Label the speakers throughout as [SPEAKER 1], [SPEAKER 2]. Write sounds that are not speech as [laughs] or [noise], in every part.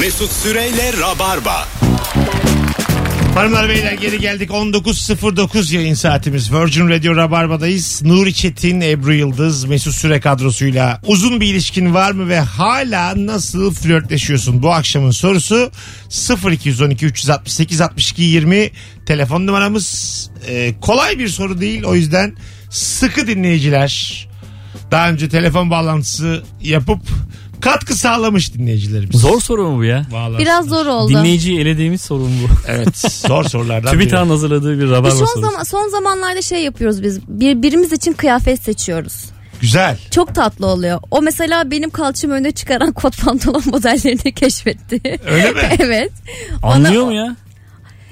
[SPEAKER 1] Mesut Süreyle Rabarba.
[SPEAKER 2] Hanımlar beyler geri geldik 19.09 yayın saatimiz Virgin Radio Rabarba'dayız Nuri Çetin, Ebru Yıldız, Mesut Süre kadrosuyla uzun bir ilişkin var mı ve hala nasıl flörtleşiyorsun bu akşamın sorusu 0212 368 62 20 telefon numaramız Ee, kolay bir soru değil o yüzden sıkı dinleyiciler daha önce telefon bağlantısı yapıp katkı sağlamış dinleyicilerimiz.
[SPEAKER 3] Zor soru mu bu ya?
[SPEAKER 2] Vallahi
[SPEAKER 4] Biraz zor oldu.
[SPEAKER 3] Dinleyiciyi elediğimiz soru mu
[SPEAKER 2] [laughs]
[SPEAKER 3] bu?
[SPEAKER 2] Evet zor sorulardan biri.
[SPEAKER 3] TÜBİTAK'ın hazırladığı bir rabarba
[SPEAKER 4] Biz son,
[SPEAKER 3] sorusu.
[SPEAKER 4] E zaman, son zamanlarda şey yapıyoruz biz. Birbirimiz için kıyafet seçiyoruz.
[SPEAKER 2] Güzel.
[SPEAKER 4] Çok tatlı oluyor. O mesela benim kalçam öne çıkaran [laughs] kot pantolon modellerini keşfetti.
[SPEAKER 2] Öyle mi?
[SPEAKER 4] [laughs] evet.
[SPEAKER 3] Anlıyor
[SPEAKER 4] Ona-
[SPEAKER 3] mu ya?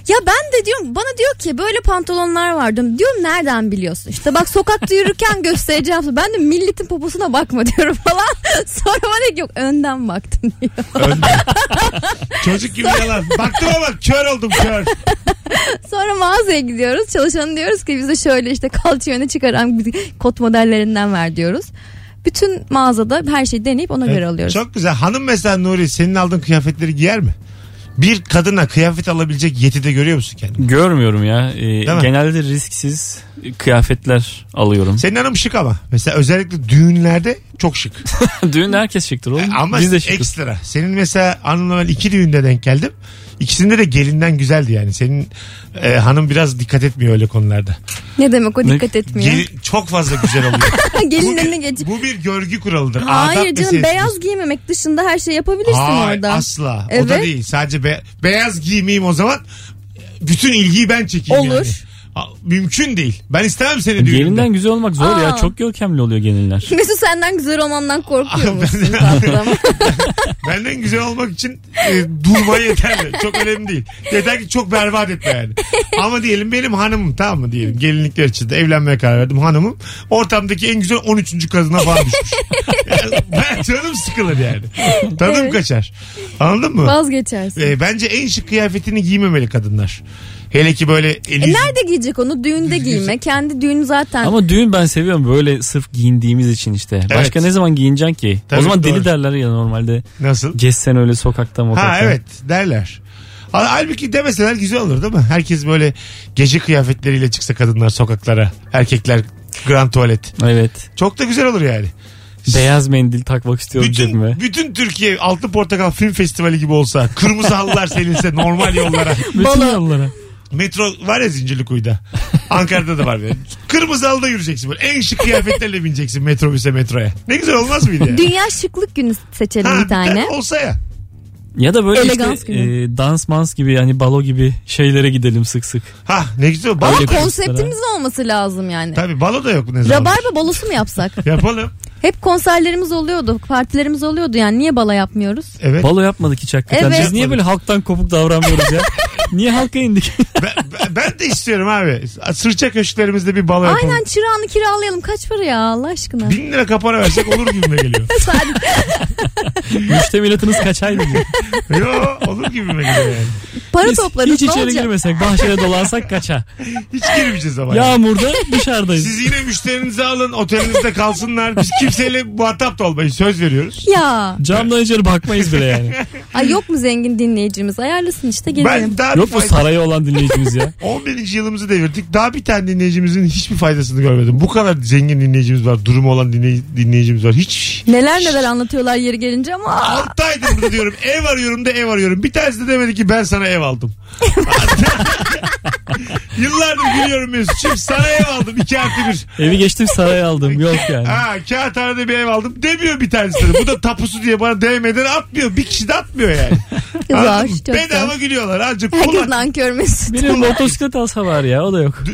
[SPEAKER 4] Ya ben de diyorum bana diyor ki böyle pantolonlar vardı. Diyorum nereden biliyorsun? İşte bak sokakta yürürken [laughs] göstereceğim. Ben de milletin poposuna bakma diyorum falan. [laughs] Sonra bana diyor ki, yok önden baktım diyor.
[SPEAKER 2] Çocuk gibi yalan. Baktığıma bak kör oldum
[SPEAKER 4] [laughs]
[SPEAKER 2] kör.
[SPEAKER 4] Sonra mağazaya gidiyoruz. Çalışanı diyoruz ki bize şöyle işte kalça öne çıkaran bir kot modellerinden ver diyoruz. Bütün mağazada her şeyi deneyip ona göre alıyoruz.
[SPEAKER 2] Çok güzel. Hanım mesela Nuri senin aldığın kıyafetleri giyer mi? Bir kadına kıyafet alabilecek yetide görüyor musun kendini?
[SPEAKER 3] Görmüyorum ya. Ee,
[SPEAKER 2] mi?
[SPEAKER 3] genelde risksiz kıyafetler
[SPEAKER 2] [laughs]
[SPEAKER 3] alıyorum.
[SPEAKER 2] Senin hanım şık ama. Mesela özellikle düğünlerde çok şık.
[SPEAKER 3] Düğünde herkes şıktır oğlum.
[SPEAKER 2] E, ama
[SPEAKER 3] Biz de şıkız.
[SPEAKER 2] ekstra. Senin mesela hanımla ben iki düğünde denk geldim. İkisinde de gelinden güzeldi yani. Senin e, hanım biraz dikkat etmiyor öyle konularda.
[SPEAKER 4] Ne demek o
[SPEAKER 3] Ne-
[SPEAKER 4] dikkat etmiyor.
[SPEAKER 2] Gel- çok fazla güzel
[SPEAKER 4] [laughs]
[SPEAKER 2] oluyor.
[SPEAKER 4] Gelin
[SPEAKER 2] bu,
[SPEAKER 4] önüne
[SPEAKER 2] bir,
[SPEAKER 4] geçip.
[SPEAKER 2] bu bir görgü kuralıdır. Adap
[SPEAKER 4] Hayır canım
[SPEAKER 2] meselesidir.
[SPEAKER 4] beyaz giymemek dışında her şeyi yapabilirsin
[SPEAKER 2] Hayır,
[SPEAKER 4] orada.
[SPEAKER 2] asla. O da
[SPEAKER 4] Evet.
[SPEAKER 2] değil. Sadece be- beyaz giymeyeyim o zaman bütün ilgiyi ben çekeyim
[SPEAKER 4] Olur.
[SPEAKER 2] yani. A- Mümkün değil. Ben istemem seni düğünümde.
[SPEAKER 3] Gelinden güzel olmak zor ya.
[SPEAKER 4] Aa.
[SPEAKER 3] Çok görkemli oluyor gelinler.
[SPEAKER 4] [laughs] Mesut senden güzel olmamdan korkuyor
[SPEAKER 2] Abi,
[SPEAKER 4] musun
[SPEAKER 2] ben-
[SPEAKER 4] tatlım?
[SPEAKER 2] [laughs] Benden güzel olmak için e, durma
[SPEAKER 4] [laughs]
[SPEAKER 2] yeterli. Çok önemli değil. Yeter ki çok berbat etme yani. Ama diyelim benim hanımım tamam mı diyelim. Gelinlikler için de evlenmeye karar verdim hanımım. Ortamdaki en güzel 13. kadına falan
[SPEAKER 4] [laughs]
[SPEAKER 2] düşmüş. Yani ben canım sıkılır yani. Tadım
[SPEAKER 4] Evet.
[SPEAKER 2] kaçar. Anladın mı?
[SPEAKER 4] [laughs] Vazgeçersin.
[SPEAKER 2] E, bence en şık kıyafetini giymemeli kadınlar. Hele ki böyle eli
[SPEAKER 4] E
[SPEAKER 2] yüzü-
[SPEAKER 4] nerede giyecek onu? Düğünde giyme. Kendi düğünü zaten.
[SPEAKER 3] Ama düğün ben seviyorum böyle sırf giyindiğimiz için işte. Başka ne zaman giyineceksin ki?
[SPEAKER 2] Tabii,
[SPEAKER 3] o zaman
[SPEAKER 2] doğru.
[SPEAKER 3] deli derler ya normalde.
[SPEAKER 2] nasıl?
[SPEAKER 3] Gezsen öyle sokakta mokakta.
[SPEAKER 2] Ha evet derler. Hal- Halbuki demeseler güzel olur değil mi? Herkes böyle gece kıyafetleriyle çıksa kadınlar sokaklara. Erkekler grand tuvalet.
[SPEAKER 3] Evet.
[SPEAKER 2] Çok da güzel olur yani.
[SPEAKER 3] Beyaz mendil takmak istiyorum cebime.
[SPEAKER 2] Bütün, bütün Türkiye Altın Portakal Film Festivali gibi olsa kırmızı halılar serilse normal yollara.
[SPEAKER 3] Bütün yollara.
[SPEAKER 2] Metro var ya Zincirlikuyu'da. Ankara'da da var. Böyle. Kırmızı halıda yürüyeceksin böyle. En şık kıyafetlerle bineceksin metrobüse metroya. Ne güzel olmaz mıydı ya?
[SPEAKER 4] Dünya şıklık günü seçelim
[SPEAKER 2] Ha,
[SPEAKER 4] bir tane.
[SPEAKER 2] olsa ya.
[SPEAKER 3] Ya da böyle
[SPEAKER 4] Elegans
[SPEAKER 3] işte
[SPEAKER 4] gibi.
[SPEAKER 3] e, dans mans gibi hani balo gibi şeylere gidelim sık sık.
[SPEAKER 2] Ha ne güzel. Balo,
[SPEAKER 4] Ama
[SPEAKER 3] Öyle
[SPEAKER 4] konseptimiz olması lazım yani.
[SPEAKER 2] tabii balo da yok ne zaman.
[SPEAKER 4] Rabarba balosu mu yapsak?
[SPEAKER 2] Yapalım.
[SPEAKER 4] Hep konserlerimiz oluyordu, partilerimiz oluyordu yani niye bala yapmıyoruz?
[SPEAKER 2] Evet.
[SPEAKER 3] Balo yapmadık hiç hakikaten.
[SPEAKER 4] Evet.
[SPEAKER 3] Biz niye böyle halktan kopuk davranmıyoruz
[SPEAKER 4] [laughs]
[SPEAKER 3] ya? niye halka indik?
[SPEAKER 2] ben, ben- ben de istiyorum abi. Sırça köşklerimizde bir balo yapalım.
[SPEAKER 4] Aynen çırağını kiralayalım. Kaç para ya Allah aşkına?
[SPEAKER 2] Bin lira kapora versek olur gibime
[SPEAKER 4] [laughs]
[SPEAKER 2] geliyor.
[SPEAKER 4] Sadece
[SPEAKER 3] Müştemilatınız kaç ay diye.
[SPEAKER 2] Yo olur gibime geliyor yani.
[SPEAKER 4] para
[SPEAKER 3] Biz
[SPEAKER 4] toplarız
[SPEAKER 3] hiç
[SPEAKER 4] ne
[SPEAKER 3] içeri
[SPEAKER 4] olacak?
[SPEAKER 3] girmesek bahçede dolansak kaça.
[SPEAKER 2] Hiç girmeyeceğiz ama. yani.
[SPEAKER 4] [laughs]
[SPEAKER 3] Yağmurda dışarıdayız.
[SPEAKER 2] Siz yine müşterinizi alın otelinizde kalsınlar. Biz kimseyle muhatap da olmayın söz veriyoruz.
[SPEAKER 4] Ya.
[SPEAKER 3] Camdan içeri bakmayız bile yani.
[SPEAKER 4] Ay yok mu zengin dinleyicimiz? Ayarlasın işte
[SPEAKER 2] Ben
[SPEAKER 4] gezelim.
[SPEAKER 2] daha bir
[SPEAKER 3] Yok mu
[SPEAKER 2] fayda-
[SPEAKER 3] sarayı olan
[SPEAKER 2] [laughs]
[SPEAKER 3] dinleyicimiz ya?
[SPEAKER 2] 11. yılımızı devirdik. Daha bir tane dinleyicimizin hiçbir faydasını görmedim. Bu kadar zengin dinleyicimiz var. Durumu olan dinley- dinleyicimiz var. şey. Hiç
[SPEAKER 4] Neler neler anlatıyorlar yeri gelince ama
[SPEAKER 2] 6 aydır burada diyorum ev arıyorum da ev arıyorum. Bir tanesi de demedi ki ben sana ev aldım. [laughs] Yıllardır gülüyorum Mesut'cum sana ev aldım 2 artı 1.
[SPEAKER 3] Evi geçtim sarayı aldım. Yok yani.
[SPEAKER 2] Ha kağıthanede bir ev aldım demiyor bir tanesi de. Bu da tapusu diye bana değmeden atmıyor. Bir kişi de atmıyor yani. Anladın
[SPEAKER 4] var.
[SPEAKER 2] mı?
[SPEAKER 4] çok
[SPEAKER 2] Bedava
[SPEAKER 4] var.
[SPEAKER 2] gülüyorlar. Azıcık
[SPEAKER 4] Herkes
[SPEAKER 2] kulak.
[SPEAKER 4] nankör Mesut.
[SPEAKER 3] Benim motosiklet alsa var ya o da yok.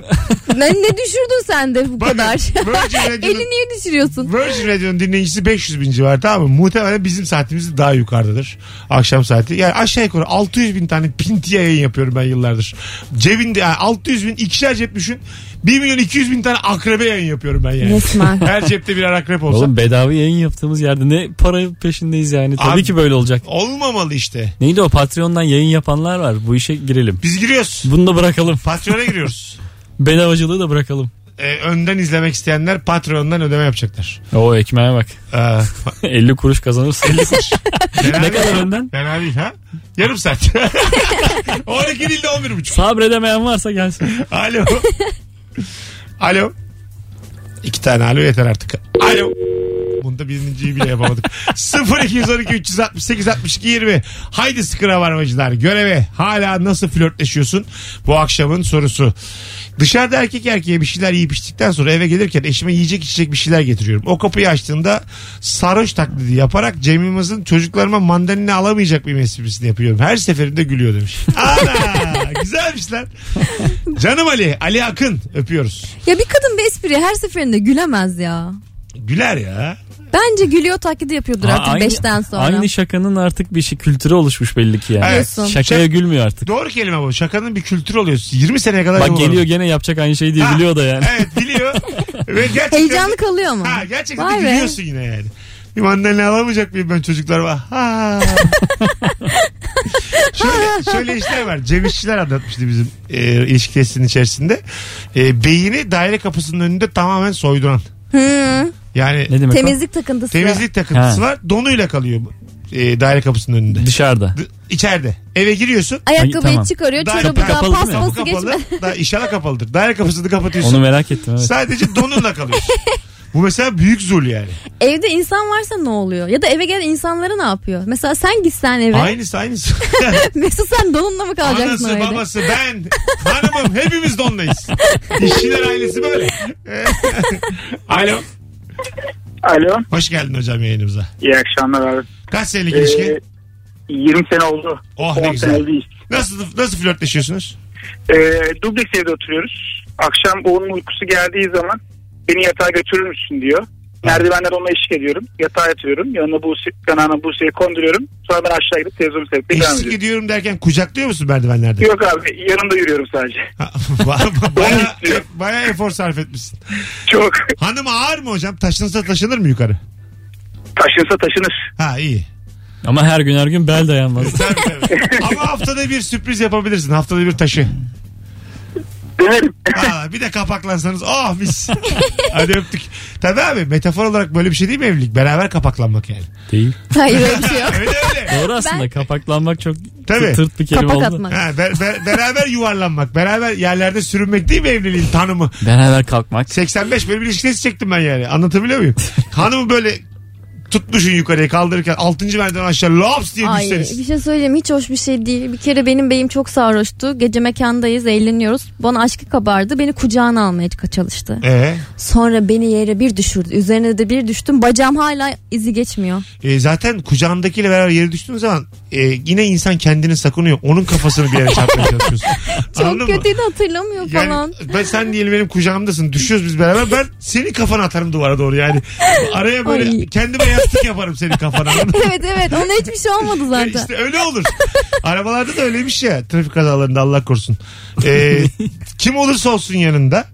[SPEAKER 4] ne, ne düşürdün sen de bu
[SPEAKER 2] Bakın,
[SPEAKER 4] kadar? [laughs]
[SPEAKER 2] Virgin Radio'nun
[SPEAKER 4] Eli niye düşürüyorsun?
[SPEAKER 2] Virgin Radio'nun dinleyicisi 500 bin civarı tamam mı? Muhtemelen bizim saatimiz daha yukarıdadır. Akşam saati. Yani aşağı yukarı 600 bin tane pinti yayın yapıyorum ben yıllardır. Cebinde yani 600 bin ikişer cep düşün. 1 milyon 200 bin tane akrebe yayın yapıyorum ben yani.
[SPEAKER 4] Resmen.
[SPEAKER 2] [laughs] Her cepte birer akrep olsa.
[SPEAKER 3] Oğlum bedava yayın yaptığımız yerde ne para peşindeyiz yani. Tabii
[SPEAKER 2] Abi-
[SPEAKER 3] ki böyle olacak.
[SPEAKER 2] Olmamalı işte.
[SPEAKER 3] Neydi o Patreon'dan yayın yapanlar var. Bu işe girelim.
[SPEAKER 2] Biz giriyoruz.
[SPEAKER 3] Bunu da bırakalım.
[SPEAKER 2] Patrona giriyoruz.
[SPEAKER 3] Bedavacılığı da bırakalım.
[SPEAKER 2] e, önden izlemek isteyenler Patreon'dan ödeme yapacaklar.
[SPEAKER 3] O ekmeğe bak. [laughs]
[SPEAKER 2] Ee,
[SPEAKER 3] 50 kuruş kazanırsın.
[SPEAKER 2] fena
[SPEAKER 3] ne
[SPEAKER 2] değil.
[SPEAKER 3] kadar önden?
[SPEAKER 2] Fena değil ha? Yarım saat. [laughs] 12 değil de 11 buçuk.
[SPEAKER 3] Sabredemeyen varsa gelsin.
[SPEAKER 2] Alo. alo. İki tane alo yeter artık. Alo. Bunda birinciyi bile yapamadık. 0212 368 62 20. Haydi sıkıra varmacılar. Göreve hala nasıl flörtleşiyorsun? Bu akşamın sorusu. Dışarıda erkek erkeğe bir şeyler yiyip içtikten sonra eve gelirken eşime yiyecek içecek bir şeyler getiriyorum. O kapıyı açtığında sarhoş taklidi yaparak Cem Yılmaz'ın çocuklarıma mandalina alamayacak bir esprisini yapıyorum. Her seferinde gülüyor demiş. Ana güzelmiş lan. Canım Ali, Ali Akın öpüyoruz.
[SPEAKER 4] Ya bir kadın bir espri her seferinde gülemez ya.
[SPEAKER 2] Güler ya.
[SPEAKER 4] Bence gülüyor taklidi yapıyordur
[SPEAKER 3] Ha,
[SPEAKER 4] artık 5'ten sonra.
[SPEAKER 3] Aynı şakanın artık bir şey kültürü oluşmuş belli ki yani.
[SPEAKER 2] Evet.
[SPEAKER 4] Diyorsun.
[SPEAKER 3] Şakaya gülmüyor artık.
[SPEAKER 2] Doğru kelime bu. Şakanın bir kültürü oluyor. 20 seneye kadar
[SPEAKER 3] Bak
[SPEAKER 2] yapamadım.
[SPEAKER 3] geliyor gene yapacak aynı şeyi diye
[SPEAKER 2] Ha,
[SPEAKER 3] biliyor da yani.
[SPEAKER 2] Evet biliyor.
[SPEAKER 3] [laughs]
[SPEAKER 2] Ve gerçekten...
[SPEAKER 4] Heyecanlı kalıyor mu?
[SPEAKER 2] Ha, gerçekten
[SPEAKER 4] Vay
[SPEAKER 2] de
[SPEAKER 4] be.
[SPEAKER 2] gülüyorsun yine yani. Bir mandalina alamayacak mıyım ben çocuklarıma?
[SPEAKER 4] [laughs]
[SPEAKER 2] Ha. şöyle, şöyle işler var. Cem İşçiler anlatmıştı bizim e, ilişki testinin içerisinde. E, beyni daire kapısının önünde tamamen soyduran.
[SPEAKER 4] Hı.
[SPEAKER 2] Yani
[SPEAKER 3] Ne demek
[SPEAKER 4] Temizlik takıntısı.
[SPEAKER 2] temizlik takıntısı
[SPEAKER 3] Ha. şey-
[SPEAKER 2] var. Donuyla kalıyor e, daire kapısının önünde.
[SPEAKER 3] o? Dışarıda.
[SPEAKER 2] D- içeride. Eve giriyorsun.
[SPEAKER 4] Ayakkabıyı
[SPEAKER 3] Ay, tamam.
[SPEAKER 4] çıkarıyor.
[SPEAKER 2] Daha
[SPEAKER 4] Çorabından
[SPEAKER 2] kapı
[SPEAKER 3] kapalı değil mi?
[SPEAKER 4] paspası
[SPEAKER 2] Kapı kapalı.
[SPEAKER 4] geçme.
[SPEAKER 2] Da, inşallah kapalıdır. Daire kapısını kapatıyorsun.
[SPEAKER 3] Onu merak ettim evet.
[SPEAKER 2] Sadece donunla kalıyorsun. Bu mesela büyük zul yani.
[SPEAKER 4] [laughs] Evde insan varsa ne oluyor? Ya da eve gelen insanları ne yapıyor? Mesela sen gitsen eve.
[SPEAKER 2] Aynısı aynısı.
[SPEAKER 4] [laughs] Mesut sen donunla mı
[SPEAKER 2] [laughs]
[SPEAKER 4] kalacaksın
[SPEAKER 2] Anası,
[SPEAKER 4] evde?
[SPEAKER 2] babası, ben, hanımım hepimiz dondayız. İşçiler ailesi böyle. Alo.
[SPEAKER 5] Alo.
[SPEAKER 2] Hoş geldin hocam yayınımıza.
[SPEAKER 5] İyi akşamlar abi.
[SPEAKER 2] Kaç senelik
[SPEAKER 5] Ee,
[SPEAKER 2] ilişki?
[SPEAKER 5] 20 sene oldu.
[SPEAKER 2] Oh, ne
[SPEAKER 5] 10
[SPEAKER 2] güzel.
[SPEAKER 5] senedeyiz.
[SPEAKER 2] Nasıl nasıl flörtleşiyorsunuz?
[SPEAKER 5] Ee, dubleks evde oturuyoruz. Akşam onun uykusu geldiği zaman beni yatağa götürür müsün diyor. Merdivenler ona eşlik ediyorum. Yatağa yatıyorum. Yanına Buse, yanağına Buse'yi konduruyorum. Sonra ben aşağı gidip televizyonu seyredip devam
[SPEAKER 2] Eşlik
[SPEAKER 5] ediyorum.
[SPEAKER 2] ediyorum derken kucaklıyor musun merdivenlerde?
[SPEAKER 5] Yok abi yanında yürüyorum sadece. [laughs]
[SPEAKER 2] baya,
[SPEAKER 5] istiyor.
[SPEAKER 2] baya efor sarf etmişsin.
[SPEAKER 5] Çok.
[SPEAKER 2] Hanım ağır mı hocam? Taşınırsa taşınır mı yukarı?
[SPEAKER 5] Taşınsa taşınır.
[SPEAKER 2] Ha iyi.
[SPEAKER 3] Ama her gün her gün
[SPEAKER 2] [laughs]
[SPEAKER 3] bel dayanmaz.
[SPEAKER 2] Tabii,
[SPEAKER 5] [laughs]
[SPEAKER 2] tabii. Ama haftada bir sürpriz yapabilirsin. Haftada bir taşı.
[SPEAKER 5] Denerim.
[SPEAKER 2] Aa, bir de kapaklansanız oh mis. [laughs] Hadi öptük. Tabii abi metafor olarak böyle bir şey değil mi evlilik? Beraber kapaklanmak yani.
[SPEAKER 3] Değil.
[SPEAKER 2] [laughs]
[SPEAKER 4] Hayır öyle bir şey yok.
[SPEAKER 2] Öyle öyle.
[SPEAKER 3] Doğru aslında
[SPEAKER 4] Ben-
[SPEAKER 3] kapaklanmak çok
[SPEAKER 2] Tabii.
[SPEAKER 3] tırt bir kelime
[SPEAKER 4] Kapak
[SPEAKER 3] oldu.
[SPEAKER 4] atmak.
[SPEAKER 2] Ha, be- be- beraber yuvarlanmak, beraber yerlerde sürünmek değil mi evliliğin tanımı?
[SPEAKER 3] Beraber kalkmak.
[SPEAKER 2] 85 bölüm ilişkisi çektim ben yani. Anlatabiliyor muyum? Hanımı böyle tutmuşsun yukarıya kaldırırken 6. merdiven aşağı lops diye
[SPEAKER 4] Ay
[SPEAKER 2] düşseniz.
[SPEAKER 4] bir şey söyleyeyim hiç hoş bir şey değil. Bir kere benim beyim çok sarhoştu. Gece mekandayız eğleniyoruz. Bana aşkı kabardı. Beni kucağına almaya çalıştı.
[SPEAKER 2] Ee,
[SPEAKER 4] Sonra beni yere bir düşürdü. Üzerine de bir düştüm. Bacağım hala izi geçmiyor.
[SPEAKER 2] e, zaten kucağındakiyle beraber yere düştüğün zaman e, yine insan kendini sakunuyor. Onun kafasını bir yere çarpmaya çalışıyorsun. Anladın mı?
[SPEAKER 4] [laughs] Çok kötüydü [laughs] hatırlamıyor
[SPEAKER 2] Yani
[SPEAKER 4] falan.
[SPEAKER 2] ben sen diyelim benim kucağımdasın. Düşüyoruz biz beraber. Ben seni kafana atarım duvara doğru yani. Araya böyle
[SPEAKER 4] Ay.
[SPEAKER 2] kendime yastık yaparım senin kafana.
[SPEAKER 4] [laughs]
[SPEAKER 2] anladın mı?
[SPEAKER 4] evet evet ona hiçbir şey olmadı zaten.
[SPEAKER 2] İşte öyle olur. Arabalarda da öyleymiş ya. Trafik kazalarında Allah korusun.
[SPEAKER 4] [laughs]
[SPEAKER 2] Ee, kim olursa olsun yanında.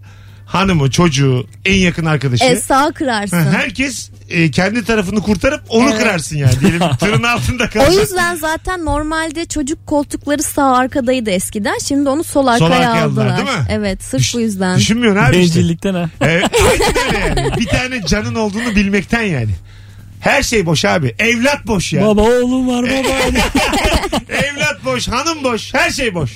[SPEAKER 2] Hanımı, çocuğu, en yakın arkadaşı.
[SPEAKER 4] E, sağa
[SPEAKER 2] Ha,
[SPEAKER 4] kırarsın.
[SPEAKER 2] Herkes e, kendi tarafını kurtarıp onu
[SPEAKER 4] Evet.
[SPEAKER 2] kırarsın yani. Diyelim tırın altında
[SPEAKER 4] [laughs] O
[SPEAKER 2] kalacak.
[SPEAKER 4] yüzden zaten normalde çocuk koltukları sağ arkadaydı eskiden. Şimdi onu sol arkaya,
[SPEAKER 2] arkaya aldılar,
[SPEAKER 4] aldılar.
[SPEAKER 2] değil mi?
[SPEAKER 4] Evet sırf
[SPEAKER 2] Düş-
[SPEAKER 4] bu yüzden.
[SPEAKER 2] Düşünmüyorsun abi işte.
[SPEAKER 3] Bencillikten ha.
[SPEAKER 2] Evet, aynen öyle Ee, yani. Bir tane canın olduğunu bilmekten yani. Her şey boş abi. Evlat boş ya.
[SPEAKER 3] Baba oğlum var baba.
[SPEAKER 2] [laughs] Evlat boş, hanım boş, her şey boş.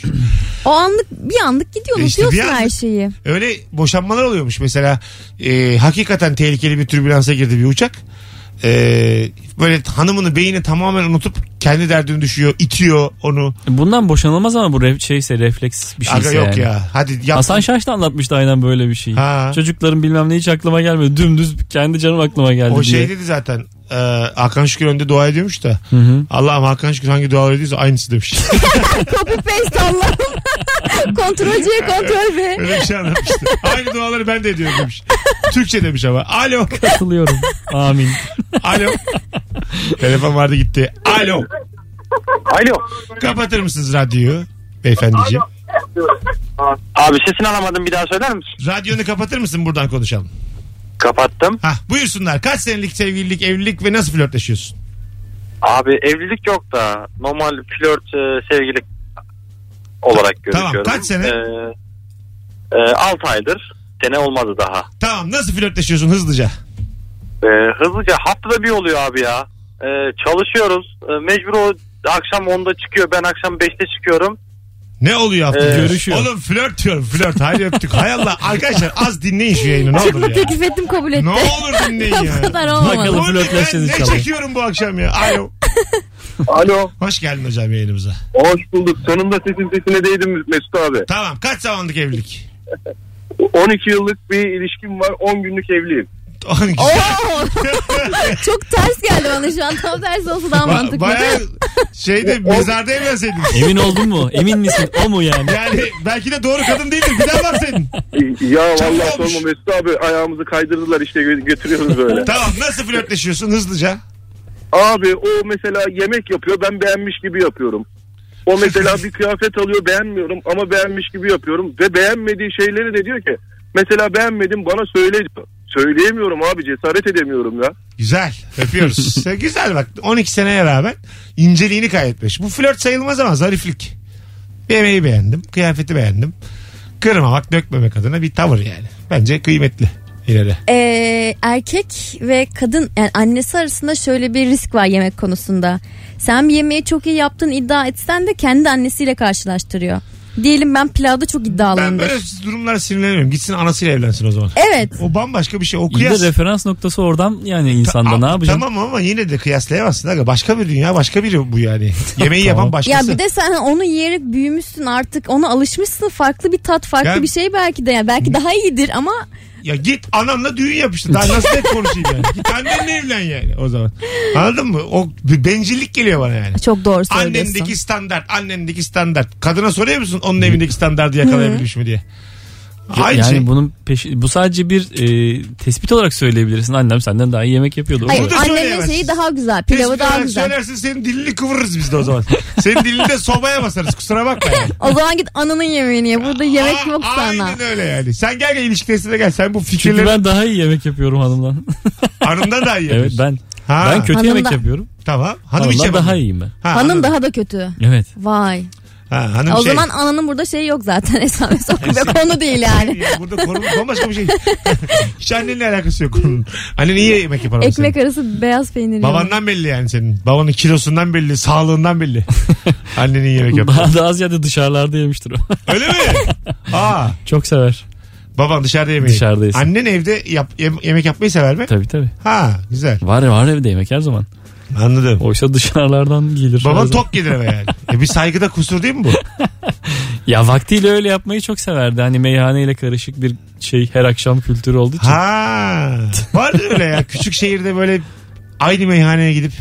[SPEAKER 4] O anlık bir anlık gidiyor
[SPEAKER 2] İşte bir
[SPEAKER 4] unutuyorsun
[SPEAKER 2] anlık.
[SPEAKER 4] her şeyi.
[SPEAKER 2] Öyle boşanmalar oluyormuş mesela. e, hakikaten tehlikeli bir türbülansa girdi bir uçak. E, böyle hanımını beyni tamamen unutup kendi derdini düşüyor, itiyor onu.
[SPEAKER 3] Bundan boşanılmaz ama bu ref, şeyse refleks bir şeyse
[SPEAKER 2] Aga yok
[SPEAKER 3] yani.
[SPEAKER 2] ya. Hadi yap.
[SPEAKER 3] Hasan Şaş da anlatmıştı aynen böyle bir şeyi.
[SPEAKER 2] Ha.
[SPEAKER 3] Çocukların bilmem ne hiç aklıma gelmedi. Dümdüz kendi canım aklıma geldi
[SPEAKER 2] o
[SPEAKER 3] diye.
[SPEAKER 2] şey dedi zaten. E, Hakan Şükür önde dua ediyormuş da.
[SPEAKER 3] Hı hı.
[SPEAKER 2] Allah'ım Hakan Şükür hangi duaları ediyorsa aynısı demiş.
[SPEAKER 4] Copy paste Allah'ım. [laughs] Kontrolcüye kontrol be.
[SPEAKER 2] Öyle bir şey anlatmıştı. Aynı duaları ben de ediyorum demiş. Türkçe demiş ama. Alo.
[SPEAKER 3] Katılıyorum. Amin.
[SPEAKER 2] Alo. Telefon vardı gitti. Alo.
[SPEAKER 6] Alo.
[SPEAKER 2] Kapatır mısınız radyoyu beyefendiciğim?
[SPEAKER 6] Abi sesini alamadım bir daha söyler misin?
[SPEAKER 2] Radyonu kapatır mısın buradan konuşalım.
[SPEAKER 6] Kapattım.
[SPEAKER 2] Hah buyursunlar. Kaç senelik sevgililik, evlilik ve nasıl flörtleşiyorsun?
[SPEAKER 6] Abi evlilik yok da normal flört e, sevgililik olarak
[SPEAKER 2] Tamam,
[SPEAKER 6] görüşüyorum.
[SPEAKER 2] kaç sene?
[SPEAKER 6] 6 aydır. sene olmadı daha.
[SPEAKER 2] Tamam nasıl flörtleşiyorsun hızlıca?
[SPEAKER 6] Ee, hızlıca haftada bir oluyor abi ya. Ee, çalışıyoruz. Ee, mecbur o akşam 10'da çıkıyor. Ben akşam 5'te çıkıyorum.
[SPEAKER 2] Ne oluyor hafta?
[SPEAKER 6] Ee,
[SPEAKER 3] görüşüyor.
[SPEAKER 2] Oğlum flört diyorum flört. Haydi öptük. Hay Allah. Arkadaşlar az dinleyin şu yayını ne
[SPEAKER 4] Çıkma
[SPEAKER 2] olur ya.
[SPEAKER 4] teklif ettim kabul etti.
[SPEAKER 2] Ne olur
[SPEAKER 4] [laughs]
[SPEAKER 2] dinleyin ya.
[SPEAKER 4] o kadar
[SPEAKER 2] Oğlum
[SPEAKER 4] olmadı.
[SPEAKER 3] Bakalım.
[SPEAKER 2] ben
[SPEAKER 3] flörtleştiniz
[SPEAKER 2] ne
[SPEAKER 3] inşallah.
[SPEAKER 2] çekiyorum bu akşam ya? Alo.
[SPEAKER 6] [laughs] Alo.
[SPEAKER 2] Hoş geldin hocam yayınımıza.
[SPEAKER 6] Hoş bulduk. Sonunda sesin sesine değdim Mesut abi.
[SPEAKER 2] Tamam kaç zamanlık evlilik? [laughs]
[SPEAKER 6] 12 yıllık bir ilişkim var. 10 günlük evliyim.
[SPEAKER 2] 12.
[SPEAKER 4] Oo. [laughs] Çok ters geldi bana şu an. Tam tersi olsa daha mantıklı.
[SPEAKER 2] Baya şeyde mezarda evlenseydin.
[SPEAKER 3] Emin oldun mu? Emin misin? O mu yani?
[SPEAKER 2] Yani belki de doğru kadın değildir. Bir daha var senin.
[SPEAKER 6] Ya
[SPEAKER 2] vallahi
[SPEAKER 6] vallahi
[SPEAKER 2] sorma
[SPEAKER 6] sorma Mesut abi. Ayağımızı kaydırdılar işte
[SPEAKER 2] [laughs]
[SPEAKER 6] götürüyoruz böyle.
[SPEAKER 2] Tamam nasıl flörtleşiyorsun hızlıca?
[SPEAKER 6] Abi o mesela yemek yapıyor ben beğenmiş gibi yapıyorum. O mesela bir kıyafet alıyor beğenmiyorum ama beğenmiş gibi yapıyorum. Ve beğenmediği şeyleri de diyor ki mesela beğenmedim bana söyle diyor. Söyleyemiyorum abi cesaret edemiyorum ya.
[SPEAKER 2] Güzel. Öpüyoruz. Ya Güzel bak 12 seneye rağmen inceliğini kaybetmiş. Bu flört sayılmaz ama zariflik. Yemeği beğendim. Kıyafeti beğendim. Kırmamak dökmemek adına bir tavır yani. Bence kıymetli ileri.
[SPEAKER 4] Ee, erkek ve kadın yani annesi arasında şöyle bir risk var yemek konusunda. Sen bir yemeği çok iyi yaptın iddia etsen de kendi annesiyle karşılaştırıyor. Diyelim ben pilavda çok
[SPEAKER 2] Ben
[SPEAKER 4] iddialıyımdır.
[SPEAKER 2] böyle durumlara sinirlenmiyorum. Gitsin anasıyla evlensin o zaman.
[SPEAKER 4] Evet.
[SPEAKER 2] O bambaşka bir şey. O
[SPEAKER 3] Bir de
[SPEAKER 2] kıyas.
[SPEAKER 3] referans noktası oradan yani insanda ne
[SPEAKER 2] Aa,
[SPEAKER 3] yapacaksın?
[SPEAKER 2] Tamam ama yine de kıyaslayamazsın. Aga. Başka bir dünya başka biri bu yani.
[SPEAKER 3] [laughs]
[SPEAKER 2] Yemeği yapan
[SPEAKER 3] Tamam.
[SPEAKER 4] Ya
[SPEAKER 2] başkası.
[SPEAKER 4] bir de sen onu yiyerek büyümüşsün artık ona alışmışsın farklı bir tat farklı
[SPEAKER 2] Yani-
[SPEAKER 4] bir şey belki de yani belki daha iyidir ama
[SPEAKER 2] Ya git ananla düğün yap işte. Daha nasıl net konuşayım yani. Git annenle evlen yani o zaman. Anladın mı? O bir bencillik geliyor bana yani.
[SPEAKER 4] çok doğru söylüyorsun.
[SPEAKER 2] Annendeki standart, annendeki standart. Kadına soruyor musun onun evindeki standartı yakalayabilmiş mi diye? Aynı
[SPEAKER 3] yani
[SPEAKER 2] şey.
[SPEAKER 3] bunun peşi, bu sadece bir e, tespit olarak söyleyebilirsin. Annem senden daha iyi yemek yapıyordu. O
[SPEAKER 4] Hayır
[SPEAKER 2] da
[SPEAKER 4] annenin
[SPEAKER 2] söyleyemezsin.
[SPEAKER 4] şeyi daha güzel
[SPEAKER 2] Tespit
[SPEAKER 4] pilavı daha
[SPEAKER 2] olarak
[SPEAKER 4] güzel.
[SPEAKER 2] Söylersin senin dilini kıvırırız biz de o zaman. senin dilini de sobaya basarız kusura bakma yani.
[SPEAKER 4] O zaman git ananın yemeğini ye burada yemek
[SPEAKER 2] Aa,
[SPEAKER 4] yok sana.
[SPEAKER 2] Aynen öyle yani. Sen gel gel ilişki testine gel. Sen bu
[SPEAKER 3] Çünkü
[SPEAKER 2] fikirleri
[SPEAKER 3] ben daha iyi yemek
[SPEAKER 2] [laughs]
[SPEAKER 3] yapıyorum hanımdan.
[SPEAKER 2] hanımda da iyi.
[SPEAKER 3] evet ben.
[SPEAKER 2] Ha,
[SPEAKER 3] Ben kötü
[SPEAKER 4] Hanımdan.
[SPEAKER 3] yemek yapıyorum.
[SPEAKER 2] Tamam. Hanım hiç
[SPEAKER 3] Hanımdan
[SPEAKER 2] yapamıyor.
[SPEAKER 3] daha iyiyim ben.
[SPEAKER 2] Ha,
[SPEAKER 4] Hanım daha da kötü.
[SPEAKER 3] Evet.
[SPEAKER 4] Vay.
[SPEAKER 2] Ha, hanım
[SPEAKER 4] o
[SPEAKER 2] şey. [laughs]
[SPEAKER 4] zaman ananın burada şeyi yok zaten [laughs] esamesi okuyacak konu değil yani.
[SPEAKER 2] Ya burada konu bambaşka bir şey. [laughs] Hiç annenle alakası yok konunun. Annen iyi yemek yapar ama senin.
[SPEAKER 4] Ekmek arası beyaz peynir. yiyorum.
[SPEAKER 2] Babandan belli yani senin. Babanın kilosundan belli, sağlığından
[SPEAKER 3] [laughs]
[SPEAKER 2] belli. Annenin iyi yemek yapar.
[SPEAKER 3] Daha, daha ziyade dışarılarda yemiştir o. [laughs]
[SPEAKER 2] Öyle mi? Aa,
[SPEAKER 3] Çok sever.
[SPEAKER 2] baban dışarıda yemeği.
[SPEAKER 3] Dışarıdayız.
[SPEAKER 2] Annen evde yap, yem- yemek yapmayı sever mi?
[SPEAKER 3] Tabii tabii.
[SPEAKER 2] Ha, güzel.
[SPEAKER 3] Var var evde yemek her zaman.
[SPEAKER 2] Anladım.
[SPEAKER 3] Oysa dışarılardan gelir. her
[SPEAKER 2] Baban
[SPEAKER 3] zaman.
[SPEAKER 2] tok gelir eve yani. E bir saygıda kusur değil mi bu?
[SPEAKER 3] Ya vaktiyle öyle yapmayı çok severdi. Hani meyhaneyle karışık bir şey her akşam kültürü olduğu için. [laughs]
[SPEAKER 2] Ha. Vardır öyle ya. Küçük şehirde böyle aynı meyhaneye gidip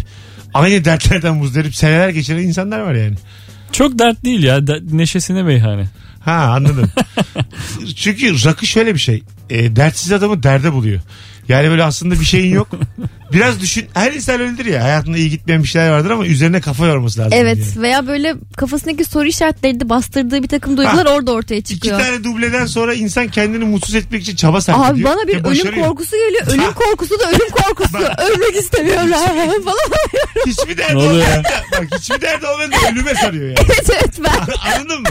[SPEAKER 2] aynı dertlerden muzdarip seneler geçiren insanlar var yani.
[SPEAKER 3] Çok dert değil ya. de- neşesine meyhane.
[SPEAKER 2] Ha
[SPEAKER 3] [laughs]
[SPEAKER 2] anladım. Çünkü rakı şöyle bir şey. E, dertsiz adamı derde buluyor. Yani böyle aslında bir şeyin yok. Biraz düşün. Her insan öyledir ya. Hayatında iyi gitmeyen bir şeyler vardır ama üzerine kafa yorması lazım.
[SPEAKER 4] Evet
[SPEAKER 2] Yani.
[SPEAKER 4] veya böyle kafasındaki soru işaretleri de bastırdığı bir takım duygular orada ortaya
[SPEAKER 2] İki
[SPEAKER 4] çıkıyor.
[SPEAKER 2] tane dubleden sonra insan kendini mutsuz etmek için çaba sarf
[SPEAKER 4] Abi
[SPEAKER 2] ediyor.
[SPEAKER 4] bana bir
[SPEAKER 2] Ve
[SPEAKER 4] ölüm
[SPEAKER 2] başarıyor.
[SPEAKER 4] korkusu geliyor. Ölüm
[SPEAKER 2] E, Ha.
[SPEAKER 4] korkusu da ölüm korkusu. Ölmek istemiyorum [laughs] falan.
[SPEAKER 3] [laughs]
[SPEAKER 2] Hiçbir derdi
[SPEAKER 3] Ne oluyor
[SPEAKER 2] olmayan
[SPEAKER 3] ya?
[SPEAKER 2] da- Bak hiçbir derdi olmayan da ölüme sarıyor yani.
[SPEAKER 4] evet evet ben.
[SPEAKER 2] [laughs] Anladın mı?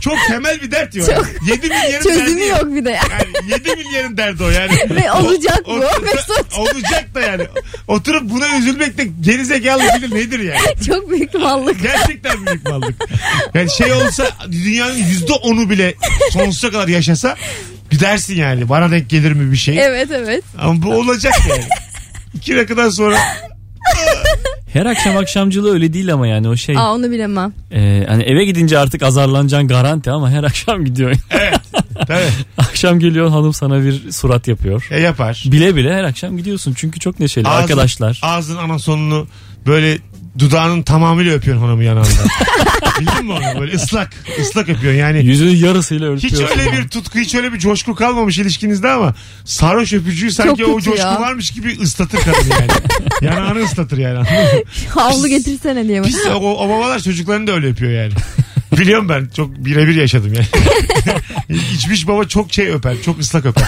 [SPEAKER 2] Çok temel bir dert diyor.
[SPEAKER 4] Çok.
[SPEAKER 2] 7 milyarın derdi.
[SPEAKER 4] Çözümü yok bir de. [laughs]
[SPEAKER 2] Yani 7 milyarın derdi o yani.
[SPEAKER 4] Ve olacak bu. [laughs] Mesut.
[SPEAKER 2] olacak da yani. Oturup buna üzülmek de gerizekalı bilir nedir yani.
[SPEAKER 4] Çok büyük mallık.
[SPEAKER 2] Gerçekten büyük mallık. Yani şey olsa dünyanın yüzde onu bile sonsuza kadar yaşasa gidersin yani. Bana denk gelir mi bir şey?
[SPEAKER 4] Evet evet.
[SPEAKER 2] Ama bu olacak yani. İki dakikadan sonra
[SPEAKER 3] Her akşam akşamcılığı öyle değil ama yani o şey.
[SPEAKER 4] Aa onu bilemem.
[SPEAKER 3] e, hani eve gidince artık azarlanacaksın garanti ama her akşam gidiyor.
[SPEAKER 2] tabii
[SPEAKER 3] [laughs] akşam geliyor hanım sana bir surat yapıyor.
[SPEAKER 2] e, yapar.
[SPEAKER 3] Bile bile her akşam gidiyorsun çünkü çok neşeli
[SPEAKER 2] Ağzın-
[SPEAKER 3] arkadaşlar.
[SPEAKER 2] Ağzın ana sonunu böyle dudağının tamamıyla öpüyorsun hanımın
[SPEAKER 4] [laughs]
[SPEAKER 2] yanağından. Bildin mi onu? Böyle ıslak. ıslak öpüyorsun yani.
[SPEAKER 3] Yüzünün yarısıyla
[SPEAKER 2] Hiç
[SPEAKER 3] örtüyorsun.
[SPEAKER 2] öyle bir tutku, hiç öyle bir coşku kalmamış ilişkinizde ama sarhoş öpücüğü sanki
[SPEAKER 4] Çok
[SPEAKER 2] o
[SPEAKER 4] kötü
[SPEAKER 2] coşku
[SPEAKER 4] ya.
[SPEAKER 2] varmış gibi ıslatır kadın
[SPEAKER 4] [laughs]
[SPEAKER 2] yani. Yanağını ıslatır yani. anladın mı?
[SPEAKER 4] Havlu getirsene diye.
[SPEAKER 2] Pis o, o babalar çocuklarını da öyle öpüyor yani. Biliyorum ben çok birebir yaşadım
[SPEAKER 4] [laughs]
[SPEAKER 2] yani. [laughs] İçmiş baba çok şey öper, çok ıslak
[SPEAKER 4] [laughs]
[SPEAKER 2] öper.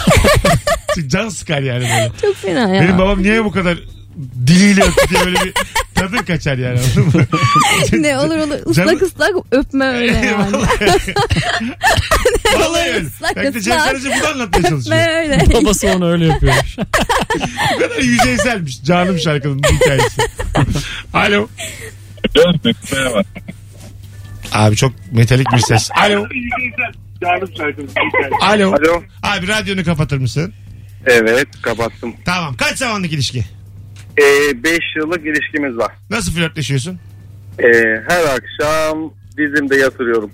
[SPEAKER 2] Can sıkar yani böyle.
[SPEAKER 4] Çok fena ya. [laughs]
[SPEAKER 2] Benim babam niye bu kadar diliyle öptü diye böyle bir Kadın kaçar yani anladın mı?
[SPEAKER 4] ne olur
[SPEAKER 2] şey
[SPEAKER 4] olur
[SPEAKER 2] Canım-
[SPEAKER 4] ıslak ıslak öpme
[SPEAKER 2] [laughs]
[SPEAKER 4] öyle yani.
[SPEAKER 2] Vallahi öyle.
[SPEAKER 4] Islak
[SPEAKER 2] Belki de
[SPEAKER 4] ıslak.
[SPEAKER 2] Cem Karaca bunu anlatmaya çalışıyor.
[SPEAKER 4] öpme öyle.
[SPEAKER 3] Babası onu
[SPEAKER 2] [laughs]
[SPEAKER 3] öyle yapıyormuş.
[SPEAKER 2] Bu kadar yüzeyselmiş. Canım şarkının bu hikayesi. Alo.
[SPEAKER 6] Merhaba.
[SPEAKER 2] Abi çok metalik bir ses. Alo. Alo.
[SPEAKER 6] Alo.
[SPEAKER 2] Abi radyonu kapatır mısın?
[SPEAKER 6] Evet kapattım.
[SPEAKER 2] Tamam. Kaç zamanlık ilişki?
[SPEAKER 6] 5 yıllık ilişkimiz var.
[SPEAKER 2] Nasıl flörtleşiyorsun?
[SPEAKER 6] Ee, her akşam dizimde yatırıyorum.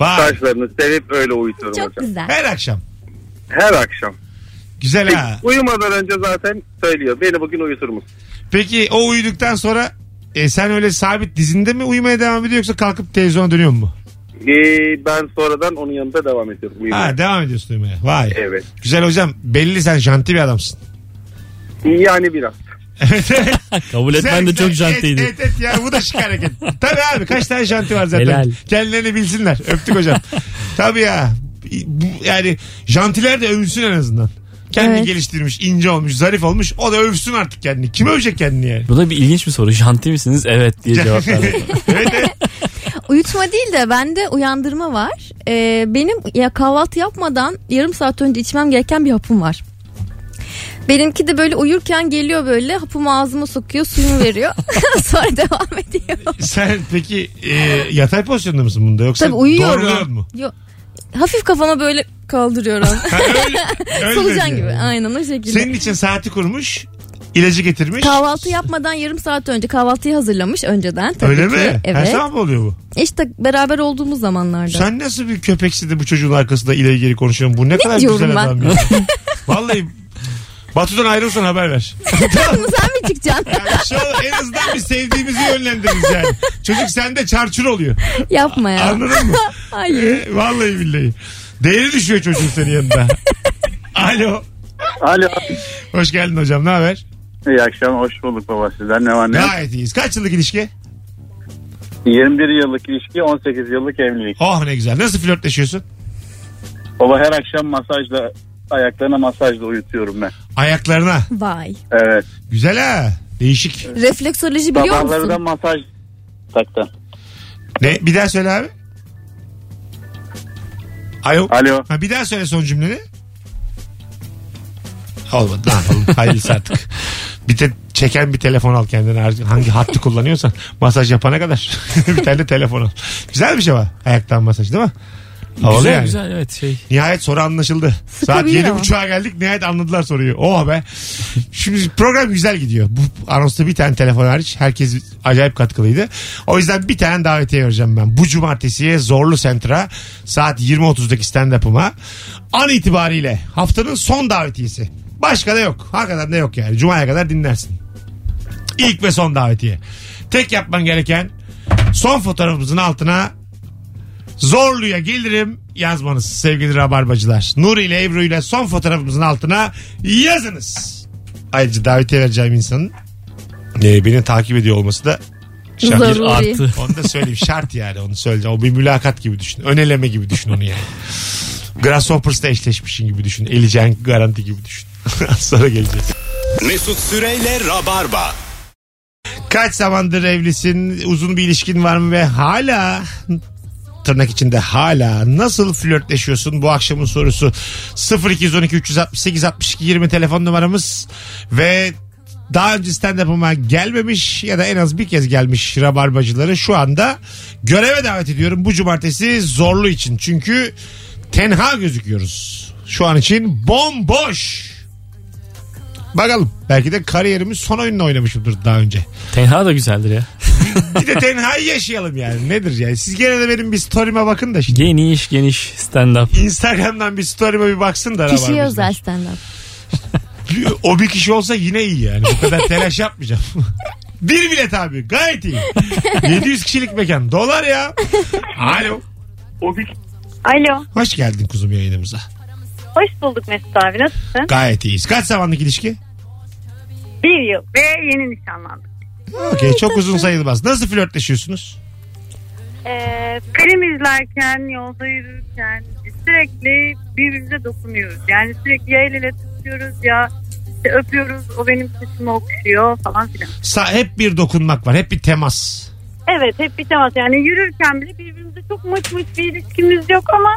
[SPEAKER 2] Vay.
[SPEAKER 6] Saçlarını sevip öyle uyutuyorum
[SPEAKER 4] Çok
[SPEAKER 6] hocam.
[SPEAKER 4] güzel.
[SPEAKER 2] Her akşam.
[SPEAKER 6] Her akşam.
[SPEAKER 2] Güzel ha.
[SPEAKER 6] Uyumadan önce zaten söylüyor. Beni bugün uyutur musun?
[SPEAKER 2] Peki o uyuduktan sonra e, sen öyle sabit dizinde mi uyumaya devam ediyor yoksa kalkıp televizyona dönüyor mu?
[SPEAKER 6] Ee, ben sonradan onun yanında devam ediyorum. uyumaya.
[SPEAKER 2] Ha devam ediyorsun uyumaya. Vay.
[SPEAKER 6] Evet.
[SPEAKER 2] Güzel hocam belli sen janti bir adamsın.
[SPEAKER 6] Yani biraz.
[SPEAKER 2] Evet evet.
[SPEAKER 3] Kabul etmen de
[SPEAKER 2] Güzel,
[SPEAKER 3] çok
[SPEAKER 2] güzel.
[SPEAKER 3] jantiydi.
[SPEAKER 2] Evet evet ya bu da şık hareket. Tabii abi kaç tane janti var zaten.
[SPEAKER 3] Helal.
[SPEAKER 2] Kendilerini bilsinler. Öptük hocam. Tabii ya. Bu, yani jantiler de övülsün en azından. Kendini
[SPEAKER 4] Evet.
[SPEAKER 2] geliştirmiş, ince olmuş, zarif olmuş. O da övsün artık kendini. Kim övecek kendini yani?
[SPEAKER 3] Bu da bir ilginç bir soru. Janti misiniz?
[SPEAKER 2] [laughs]
[SPEAKER 3] Evet diye cevap verdim.
[SPEAKER 2] evet, evet.
[SPEAKER 4] Uyutma değil de bende uyandırma var. Ee, benim ya kahvaltı yapmadan yarım saat önce içmem gereken bir hapım var. Benimki de böyle uyurken geliyor böyle hapımı ağzıma sokuyor suyumu
[SPEAKER 2] [laughs]
[SPEAKER 4] veriyor. [laughs] Sonra devam ediyor.
[SPEAKER 2] Sen peki e, yatay pozisyonda mısın bunda yoksa
[SPEAKER 4] Tabii uyuyorum.
[SPEAKER 2] doğruluyor mu?
[SPEAKER 4] Yo- hafif kafama böyle kaldırıyorum.
[SPEAKER 2] Ha, öyle, [laughs]
[SPEAKER 4] [laughs]
[SPEAKER 2] öyle
[SPEAKER 4] Solucan
[SPEAKER 2] diyor.
[SPEAKER 4] gibi aynen o şekilde.
[SPEAKER 2] Senin için saati kurmuş, ilacı getirmiş.
[SPEAKER 4] Kahvaltı yapmadan yarım saat önce kahvaltıyı hazırlamış önceden tabii
[SPEAKER 2] Öyle
[SPEAKER 4] ki.
[SPEAKER 2] mi? Her
[SPEAKER 4] Evet.
[SPEAKER 2] sabah mı oluyor bu?
[SPEAKER 4] İşte beraber olduğumuz zamanlarda.
[SPEAKER 2] Sen nasıl bir köpeksi de bu çocuğun arkasında ileri geri konuşuyorsun? Bu ne, kadar
[SPEAKER 4] diyorum
[SPEAKER 2] güzel
[SPEAKER 4] ben?
[SPEAKER 2] adam
[SPEAKER 4] [laughs]
[SPEAKER 2] ya. Vallahi Batu'dan ayrılsan haber ver.
[SPEAKER 4] [laughs] Sen mi çıkacaksın? [laughs]
[SPEAKER 2] Yani şu an en azından bir sevdiğimizi yönlendiririz yani. Çocuk sende çarçur oluyor.
[SPEAKER 4] Yapma ya.
[SPEAKER 2] Anladın mı?
[SPEAKER 4] [laughs] Hayır.
[SPEAKER 2] E, Vallahi billahi. Değeri düşüyor çocuğun senin yanında.
[SPEAKER 4] [laughs]
[SPEAKER 2] Alo.
[SPEAKER 7] Alo.
[SPEAKER 2] Hoş geldin hocam. Ne haber?
[SPEAKER 7] İyi akşam hoş bulduk baba sizden ne var ne? yok?
[SPEAKER 2] Gayet iyiyiz. Kaç yıllık ilişki?
[SPEAKER 7] 21 yıllık ilişki 18 yıllık evlilik.
[SPEAKER 2] Oh ne güzel. Nasıl flörtleşiyorsun?
[SPEAKER 7] Baba her akşam masajla ayaklarına masajla uyutuyorum ben.
[SPEAKER 2] Ayaklarına.
[SPEAKER 4] Vay.
[SPEAKER 7] Evet.
[SPEAKER 2] Güzel ha. Değişik.
[SPEAKER 4] Refleksoloji biliyor
[SPEAKER 7] Sabahları da
[SPEAKER 4] musun?
[SPEAKER 7] masaj takta.
[SPEAKER 2] Ne? Bir daha söyle abi. Alo.
[SPEAKER 7] Alo.
[SPEAKER 2] Ha, bir daha söyle son cümleni. Olmadı. Ne yapalım? Hayırlısı artık. Bir te- çeken bir telefon al kendine. Her- Hangi hattı kullanıyorsan. Masaj yapana kadar. [laughs] bir tane de telefon al. Güzel bir şey var. Ayaktan masaj değil mi? Havalı
[SPEAKER 3] güzel
[SPEAKER 2] yani.
[SPEAKER 3] güzel evet şey.
[SPEAKER 2] Nihayet soru anlaşıldı. Saat
[SPEAKER 4] Sıkabiliyor.
[SPEAKER 2] yedi buçuğa geldik. Nihayet anladılar soruyu. Oh be. Şimdi program güzel gidiyor. Bu anonsta bir tane telefon hariç. Herkes acayip katkılıydı. O yüzden bir tane davetiye vereceğim ben. Bu cumartesiye Zorlu Sentra saat 20.30'daki stand-up'ıma an itibariyle haftanın son davetiyesi. Başka da yok. Hakikaten de yok yani. Cuma'ya kadar dinlersin. İlk ve son davetiye. Tek yapman gereken son fotoğrafımızın altına Zorlu'ya gelirim yazmanız sevgili rabarbacılar. Nuri ile Ebru ile son fotoğrafımızın altına yazınız. Ayrıca davetiye vereceğim insanın e, beni takip ediyor olması da şart.
[SPEAKER 4] Zaruri.
[SPEAKER 3] Artı.
[SPEAKER 2] Onu da söyleyeyim şart yani onu söyleyeceğim. O bir mülakat gibi düşün. Öneleme gibi düşün onu yani. Grasshoppers'ta eşleşmişsin gibi düşün. Eleceğin garanti gibi düşün. [laughs] Az Sonra geleceğiz.
[SPEAKER 1] Mesut Süreyle Rabarba.
[SPEAKER 2] Kaç zamandır evlisin? Uzun bir ilişkin var mı ve hala tırnak içinde hala nasıl flörtleşiyorsun bu akşamın sorusu 0212 368 62 20 telefon numaramız ve daha önce stand-up'ıma gelmemiş ya da en az bir kez gelmiş rabarbacıları şu anda göreve davet ediyorum bu cumartesi zorlu için çünkü tenha gözüküyoruz şu an için bomboş bakalım belki de kariyerimin son oyununu oynamışımdır daha önce
[SPEAKER 3] Tenha da güzeldir ya.
[SPEAKER 2] bir de tenhayı yaşayalım yani. Nedir yani? Siz gene de benim bir story'me bakın da şimdi.
[SPEAKER 3] Geniş geniş stand up.
[SPEAKER 2] Instagram'dan bir story'me bir baksın da.
[SPEAKER 4] Kişiye
[SPEAKER 2] Rabarbacılar.
[SPEAKER 4] özel stand up.
[SPEAKER 2] O bir kişi olsa yine iyi yani. Bu kadar telaş yapmayacağım. [laughs] bir bilet abi. Gayet iyi. 700 kişilik mekan. Dolar ya. Alo.
[SPEAKER 8] Alo.
[SPEAKER 2] Hoş geldin kuzum yayınımıza.
[SPEAKER 8] Hoş bulduk Mesut abi. Nasılsın?
[SPEAKER 2] Gayet iyiyiz. Kaç zamanlık ilişki?
[SPEAKER 8] Bir yıl ve yeni nişanlandık.
[SPEAKER 2] Okey çok uzun sayılmaz. Nasıl flörtleşiyorsunuz?
[SPEAKER 8] Ee, film izlerken, yolda yürürken sürekli birbirimize dokunuyoruz. Yani sürekli ya el ele tutuyoruz ya İşte öpüyoruz. O benim saçımı okşuyor falan filan.
[SPEAKER 2] Sa- hep bir dokunmak var. Hep bir temas.
[SPEAKER 8] Evet hep bir temas. Yani yürürken bile birbirimize çok mıç mıç bir ilişkimiz yok ama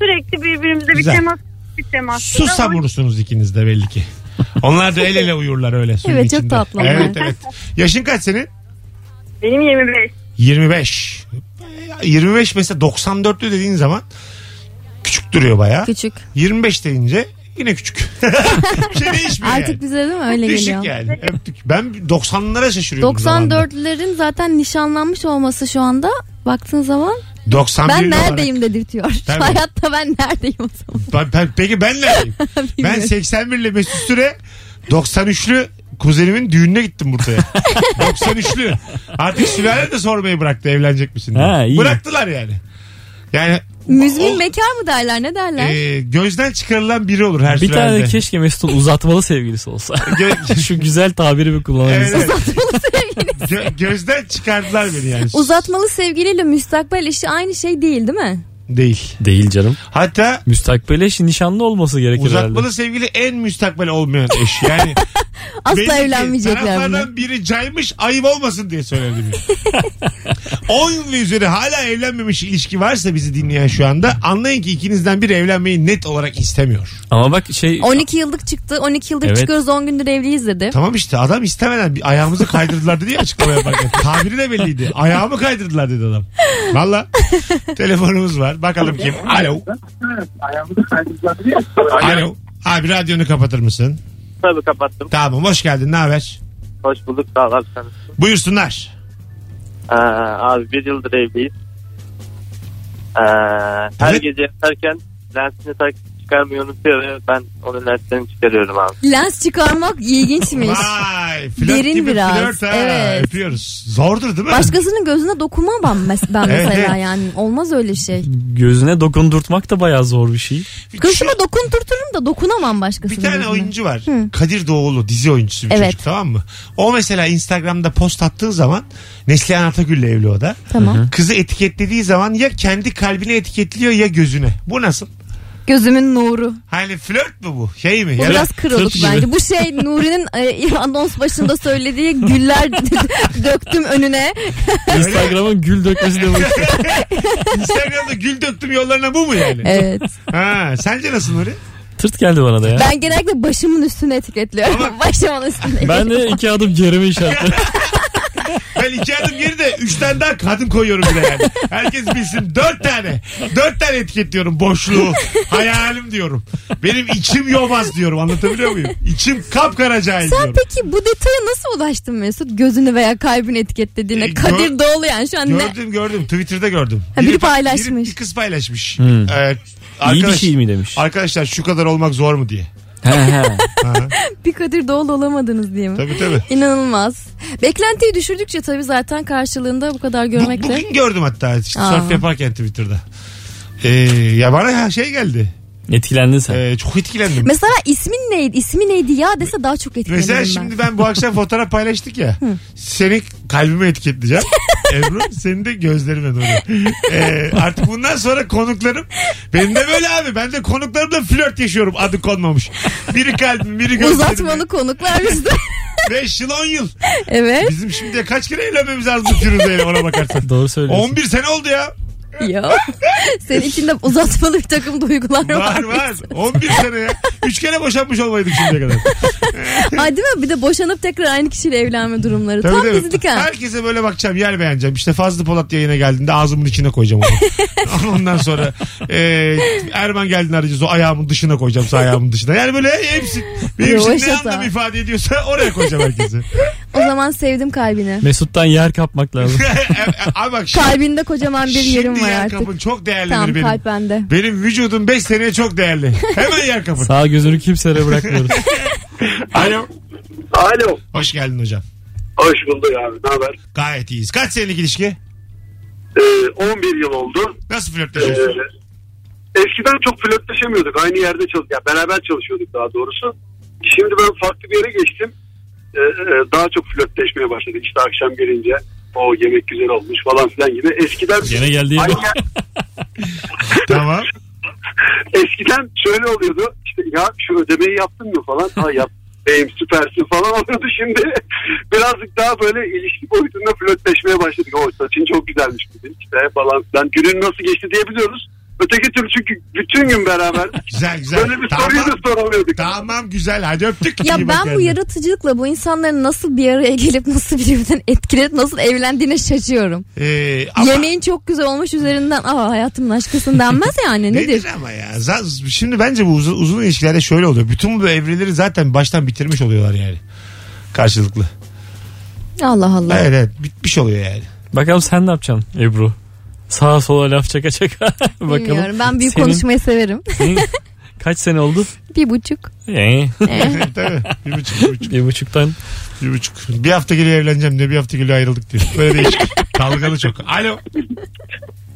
[SPEAKER 8] sürekli birbirimize
[SPEAKER 2] Güzel.
[SPEAKER 8] bir temas bir temas.
[SPEAKER 2] Su savurusunuz ikiniz de belli ki. Onlar da el ele uyurlar öyle suyun
[SPEAKER 4] Evet, çok
[SPEAKER 2] içinde.
[SPEAKER 4] tatlı onlar.
[SPEAKER 2] Evet evet. Yaşın kaç senin?
[SPEAKER 8] Benim 25.
[SPEAKER 2] 25. 25 mesela 94'lü dediğin zaman küçük duruyor bayağı.
[SPEAKER 4] Küçük.
[SPEAKER 2] 25 deyince yine küçük. [laughs] Bir şey değişmiyor yani.
[SPEAKER 4] Artık bize değil mi öyle
[SPEAKER 2] Değişik
[SPEAKER 4] geliyor.
[SPEAKER 2] yani. Öptük. Ben 90'lara şaşırıyorum.
[SPEAKER 4] 94'lerin zaten nişanlanmış olması şu anda baktığın zaman
[SPEAKER 2] 91
[SPEAKER 4] ben
[SPEAKER 2] olarak.
[SPEAKER 4] neredeyim dedirtiyor.
[SPEAKER 2] Tabii.
[SPEAKER 4] Hayatta ben neredeyim o zaman.
[SPEAKER 2] Ben- ben- peki ben neredeyim? ben
[SPEAKER 4] [laughs] Bilmiyorum.
[SPEAKER 2] 81'li Mesut Süre 93'lü kuzenimin düğününe gittim Bursa'ya.
[SPEAKER 4] [laughs]
[SPEAKER 2] 93'lü. Artık sülale de sormayı bıraktı evlenecek misin diye.
[SPEAKER 3] Ha, iyi.
[SPEAKER 2] Bıraktılar yani. Yani
[SPEAKER 4] Müzmin
[SPEAKER 2] o-
[SPEAKER 4] bekar mı derler ne derler?
[SPEAKER 2] e, gözden çıkarılan biri olur her
[SPEAKER 3] Bir tane
[SPEAKER 2] sülalede.
[SPEAKER 3] de keşke Mesut'un uzatmalı sevgilisi [laughs] olsa.
[SPEAKER 2] Gö-
[SPEAKER 3] Şu güzel tabiri bir
[SPEAKER 2] Evet,
[SPEAKER 3] kullanabilsem.
[SPEAKER 2] evet. Gö- gözden çıkardılar beni yani.
[SPEAKER 4] Uzatmalı sevgiliyle müstakbel işi aynı şey değil değil mi?
[SPEAKER 2] Değil.
[SPEAKER 3] Değil canım.
[SPEAKER 2] Hatta
[SPEAKER 3] Müstakbele eşi nişanlı olması gerekir herhalde.
[SPEAKER 2] uzatmalı sevgili en müstakbel olmayan eş. Yani
[SPEAKER 4] Asla
[SPEAKER 2] Belli ki
[SPEAKER 4] evlenmeyecekler bunlar.
[SPEAKER 2] Taraflardan biri caymış ayıp olmasın diye söyledim. [laughs] 10 ve üzeri hala evlenmemiş ilişki varsa bizi dinleyen şu anda anlayın ki ikinizden biri evlenmeyi net olarak istemiyor.
[SPEAKER 3] Ama bak şey
[SPEAKER 4] 12 yıllık çıktı. 12 yıldır
[SPEAKER 3] Evet.
[SPEAKER 4] çıkıyoruz 10 gündür evliyiz dedi.
[SPEAKER 2] Tamam işte adam istemeden bir ayağımızı kaydırdılar dedi ya açıklama
[SPEAKER 4] [laughs]
[SPEAKER 2] yaparken. Tabiri de belliydi. Ayağımı kaydırdılar dedi adam. Valla telefonumuz var. Bakalım kim? Alo. Alo. Abi radyonu kapatır mısın?
[SPEAKER 7] Tabii kapattım.
[SPEAKER 2] Tamam hoş geldin ne haber?
[SPEAKER 7] Hoş bulduk sağ ol abi sen.
[SPEAKER 2] Buyursunlar.
[SPEAKER 7] Ee, abi bir yıldır evliyiz. Ee, her
[SPEAKER 2] Evet.
[SPEAKER 7] gece yatarken lensini tak çıkarmayı unutuyor ve ben onun lenslerini çıkarıyorum abi.
[SPEAKER 4] Lens çıkarmak ilginçmiş.
[SPEAKER 2] Vay flört
[SPEAKER 4] Derin
[SPEAKER 2] gibi
[SPEAKER 4] biraz.
[SPEAKER 2] flört ha.
[SPEAKER 4] Evet.
[SPEAKER 2] Öpüyoruz. Zordur değil mi?
[SPEAKER 4] Başkasının gözüne dokunamam mes- ben
[SPEAKER 2] Evet,
[SPEAKER 4] mesela
[SPEAKER 2] evet.
[SPEAKER 4] yani olmaz öyle şey.
[SPEAKER 3] gözüne dokundurtmak da bayağı zor bir şey.
[SPEAKER 4] Kızıma dokunturturum da dokunamam başkasının
[SPEAKER 2] bir tane
[SPEAKER 4] gözüne.
[SPEAKER 2] oyuncu var.
[SPEAKER 4] Hı.
[SPEAKER 2] Kadir Doğulu dizi oyuncusu bir
[SPEAKER 4] Evet.
[SPEAKER 2] çocuk tamam mı? O mesela Instagram'da post attığı zaman Neslihan Atagül'le evli o da.
[SPEAKER 4] Tamam.
[SPEAKER 2] Kızı etiketlediği zaman ya kendi kalbini etiketliyor ya gözüne. Bu nasıl?
[SPEAKER 4] Gözümün nuru.
[SPEAKER 2] Hani flört mü bu? Şey mi?
[SPEAKER 4] Bu
[SPEAKER 2] Ya da-
[SPEAKER 4] biraz kırılık
[SPEAKER 3] gibi.
[SPEAKER 4] bence. Bu şey Nuri'nin e, [laughs] anons başında söylediği güller [laughs] döktüm önüne.
[SPEAKER 3] Instagram'ın gül dökmesi de [laughs] bu.
[SPEAKER 2] [laughs] Instagram'da gül döktüm yollarına bu mu yani?
[SPEAKER 4] Evet.
[SPEAKER 2] Ha, sence nasıl Nuri?
[SPEAKER 3] Tırt geldi bana da ya.
[SPEAKER 4] Ben genellikle başımın üstüne etiketliyorum. [laughs] Başımın üstüne. E,
[SPEAKER 3] Ben de iki adım gerime [laughs] işaretledim.
[SPEAKER 2] Ben iki adım geri de üç tane daha kadın koyuyorum bile yani. Herkes bilsin dört tane. Dört tane etiketliyorum boşluğu. Hayalim diyorum. Benim içim yobaz diyorum anlatabiliyor muyum? İçim kapkara cahil
[SPEAKER 4] Sen
[SPEAKER 2] diyorum.
[SPEAKER 4] peki bu detaya nasıl ulaştın Mesut? Gözünü veya kalbini etiketlediğine.
[SPEAKER 2] E, gör-
[SPEAKER 4] Kadir Doğulu yani şu an ne?
[SPEAKER 2] Gördüm gördüm Twitter'da gördüm.
[SPEAKER 4] Ha, biri paylaşmış.
[SPEAKER 2] bir kız paylaşmış.
[SPEAKER 3] Hmm.
[SPEAKER 2] Ee,
[SPEAKER 3] İyi bir
[SPEAKER 2] arkadaş-
[SPEAKER 3] şey mi demiş.
[SPEAKER 2] Arkadaşlar şu kadar olmak zor mu diye.
[SPEAKER 3] He he.
[SPEAKER 4] Bir Kadir Doğulu olamadınız diye mi?
[SPEAKER 2] Tabii tabii.
[SPEAKER 4] İnanılmaz. Beklentiyi düşürdükçe tabii zaten karşılığında bu kadar
[SPEAKER 2] Bu,
[SPEAKER 4] görmek de.
[SPEAKER 2] bugün gördüm hatta işte
[SPEAKER 4] Aa.
[SPEAKER 2] surf yaparken Twitter'da. Ee, ya bana şey geldi.
[SPEAKER 3] Etkilendin sen.
[SPEAKER 2] Ee, çok etkilendim.
[SPEAKER 4] Mesela ismin neydi? İsmi neydi ya dese daha çok etkilenirim
[SPEAKER 2] Mesela
[SPEAKER 4] ben.
[SPEAKER 2] şimdi ben bu akşam fotoğraf paylaştık ya.
[SPEAKER 4] [laughs]
[SPEAKER 2] seni kalbime etiketleyeceğim. Ebru seni de gözlerime doğru. Ee, artık bundan sonra konuklarım benim de böyle abi. Ben de konuklarımla flört yaşıyorum adı konmamış. Biri kalbim biri gözlerime.
[SPEAKER 4] Uzatmalı konuklar bizde. [laughs]
[SPEAKER 2] 5 yıl 10 yıl.
[SPEAKER 4] evet.
[SPEAKER 2] Bizim şimdiye kaç kere evlenmemiz lazım türüyle ona bakarsan.
[SPEAKER 3] Doğru söylüyorsun.
[SPEAKER 2] 11 sene oldu ya.
[SPEAKER 4] Ya. Senin içinde uzatmalı bir takım duygular
[SPEAKER 2] Var
[SPEAKER 4] var.
[SPEAKER 2] var. 11 sene ya. 3 kere boşanmış olmaydık şimdiye kadar.
[SPEAKER 4] Ay değil mi? Bir de boşanıp tekrar aynı kişiyle evlenme durumları.
[SPEAKER 2] Tabii,
[SPEAKER 4] Tam
[SPEAKER 2] tabii.
[SPEAKER 4] bizlik ha.
[SPEAKER 2] Herkese böyle bakacağım yer beğeneceğim. İşte Fazlı Polat yayına geldiğinde ağzımın içine koyacağım
[SPEAKER 4] [laughs]
[SPEAKER 2] onu. Ondan sonra e, Erman geldiğinde arayacağız o ayağımın dışına koyacağım sağ ayağımın dışına. Yani böyle hepsi benim için
[SPEAKER 4] Yavaş
[SPEAKER 2] ne
[SPEAKER 4] hata.
[SPEAKER 2] anlam ifade ediyorsa oraya koyacağım
[SPEAKER 4] [laughs]
[SPEAKER 2] herkesi. [laughs]
[SPEAKER 4] O zaman sevdim kalbini.
[SPEAKER 3] Mesut'tan yer kapmak [laughs] lazım.
[SPEAKER 2] Ama bak şimdi,
[SPEAKER 4] Kalbinde kocaman bir yerim
[SPEAKER 2] şimdi
[SPEAKER 4] var
[SPEAKER 2] yer
[SPEAKER 4] artık.
[SPEAKER 2] kapın çok değerlidir
[SPEAKER 4] Tamam
[SPEAKER 2] benim.
[SPEAKER 4] kalp bende.
[SPEAKER 2] Benim vücudum 5 seneye çok
[SPEAKER 4] [laughs]
[SPEAKER 2] değerli. Hemen yer kapın.
[SPEAKER 3] Sağ gözünü kimseye bırakmıyoruz.
[SPEAKER 2] Alo.
[SPEAKER 6] Alo.
[SPEAKER 2] Hoş geldin hocam.
[SPEAKER 6] Hoş bulduk abi. Ne haber?
[SPEAKER 2] Gayet iyiyiz. Kaç senelik ilişki?
[SPEAKER 6] 11 yıl oldu.
[SPEAKER 2] Nasıl
[SPEAKER 6] Ee,
[SPEAKER 2] flörtleşiyorsun?
[SPEAKER 6] eskiden çok flörtleşemiyorduk. Aynı yerde çalış ya beraber çalışıyorduk daha doğrusu. Şimdi ben farklı bir yere geçtim. Ee, e, daha çok flörtleşmeye başladı. İşte akşam gelince o yemek güzel olmuş falan filan gibi. Eskiden
[SPEAKER 3] Gene geldi ya.
[SPEAKER 6] aynı,
[SPEAKER 9] Ee,
[SPEAKER 2] tamam.
[SPEAKER 6] eskiden şöyle oluyordu. İşte ya şu ödemeyi yaptın mı falan. Ha yap. E,
[SPEAKER 9] beyim süpersin falan oluyordu şimdi. [laughs] Birazcık daha böyle ilişki boyutunda flörtleşmeye başladık. O saçın çok güzelmiş dedi. İşte falan. Ben günün nasıl geçti diyebiliyoruz. Öteki türlü çünkü bütün gün beraber.
[SPEAKER 2] Güzel [laughs] güzel.
[SPEAKER 9] Böyle bir soruyu
[SPEAKER 2] Tamam,
[SPEAKER 9] da soramıyorduk.
[SPEAKER 2] tamam güzel hadi öptük. İyi
[SPEAKER 4] Ya
[SPEAKER 2] bak
[SPEAKER 4] ben bu
[SPEAKER 2] kendine.
[SPEAKER 4] yaratıcılıkla bu insanların nasıl bir araya gelip nasıl birbirinden etkilenip nasıl evlendiğine şaşıyorum.
[SPEAKER 2] Ee, ama
[SPEAKER 4] Yemeğin çok güzel olmuş üzerinden aa hayatımın aşkısın denmez yani
[SPEAKER 2] nedir?
[SPEAKER 4] nedir?
[SPEAKER 2] ama ya? Za- Şimdi bence bu uzun, uzun ilişkilerde şöyle oluyor. Bütün bu evreleri zaten baştan bitirmiş oluyorlar yani. Karşılıklı.
[SPEAKER 4] Allah Allah.
[SPEAKER 2] Evet evet bitmiş oluyor [laughs] yani.
[SPEAKER 3] Bakalım sen ne yapacaksın Ebru? Sağa sola laf çaka çaka. [laughs] Bakalım.
[SPEAKER 4] Bilmiyorum ben büyük
[SPEAKER 3] Senin-
[SPEAKER 4] konuşmayı severim. [laughs]
[SPEAKER 3] senin [laughs] Kaç sene oldu?
[SPEAKER 4] bir buçuk.
[SPEAKER 3] Ee,
[SPEAKER 2] Tabii. Bir buçuk, bir buçuk.
[SPEAKER 3] bir [laughs] buçuktan.
[SPEAKER 2] Bir buçuk. Bir hafta geliyor evleneceğim diye bir hafta geliyor ayrıldık diyor. Böyle [laughs] değişik. Dalgalı çok. Alo.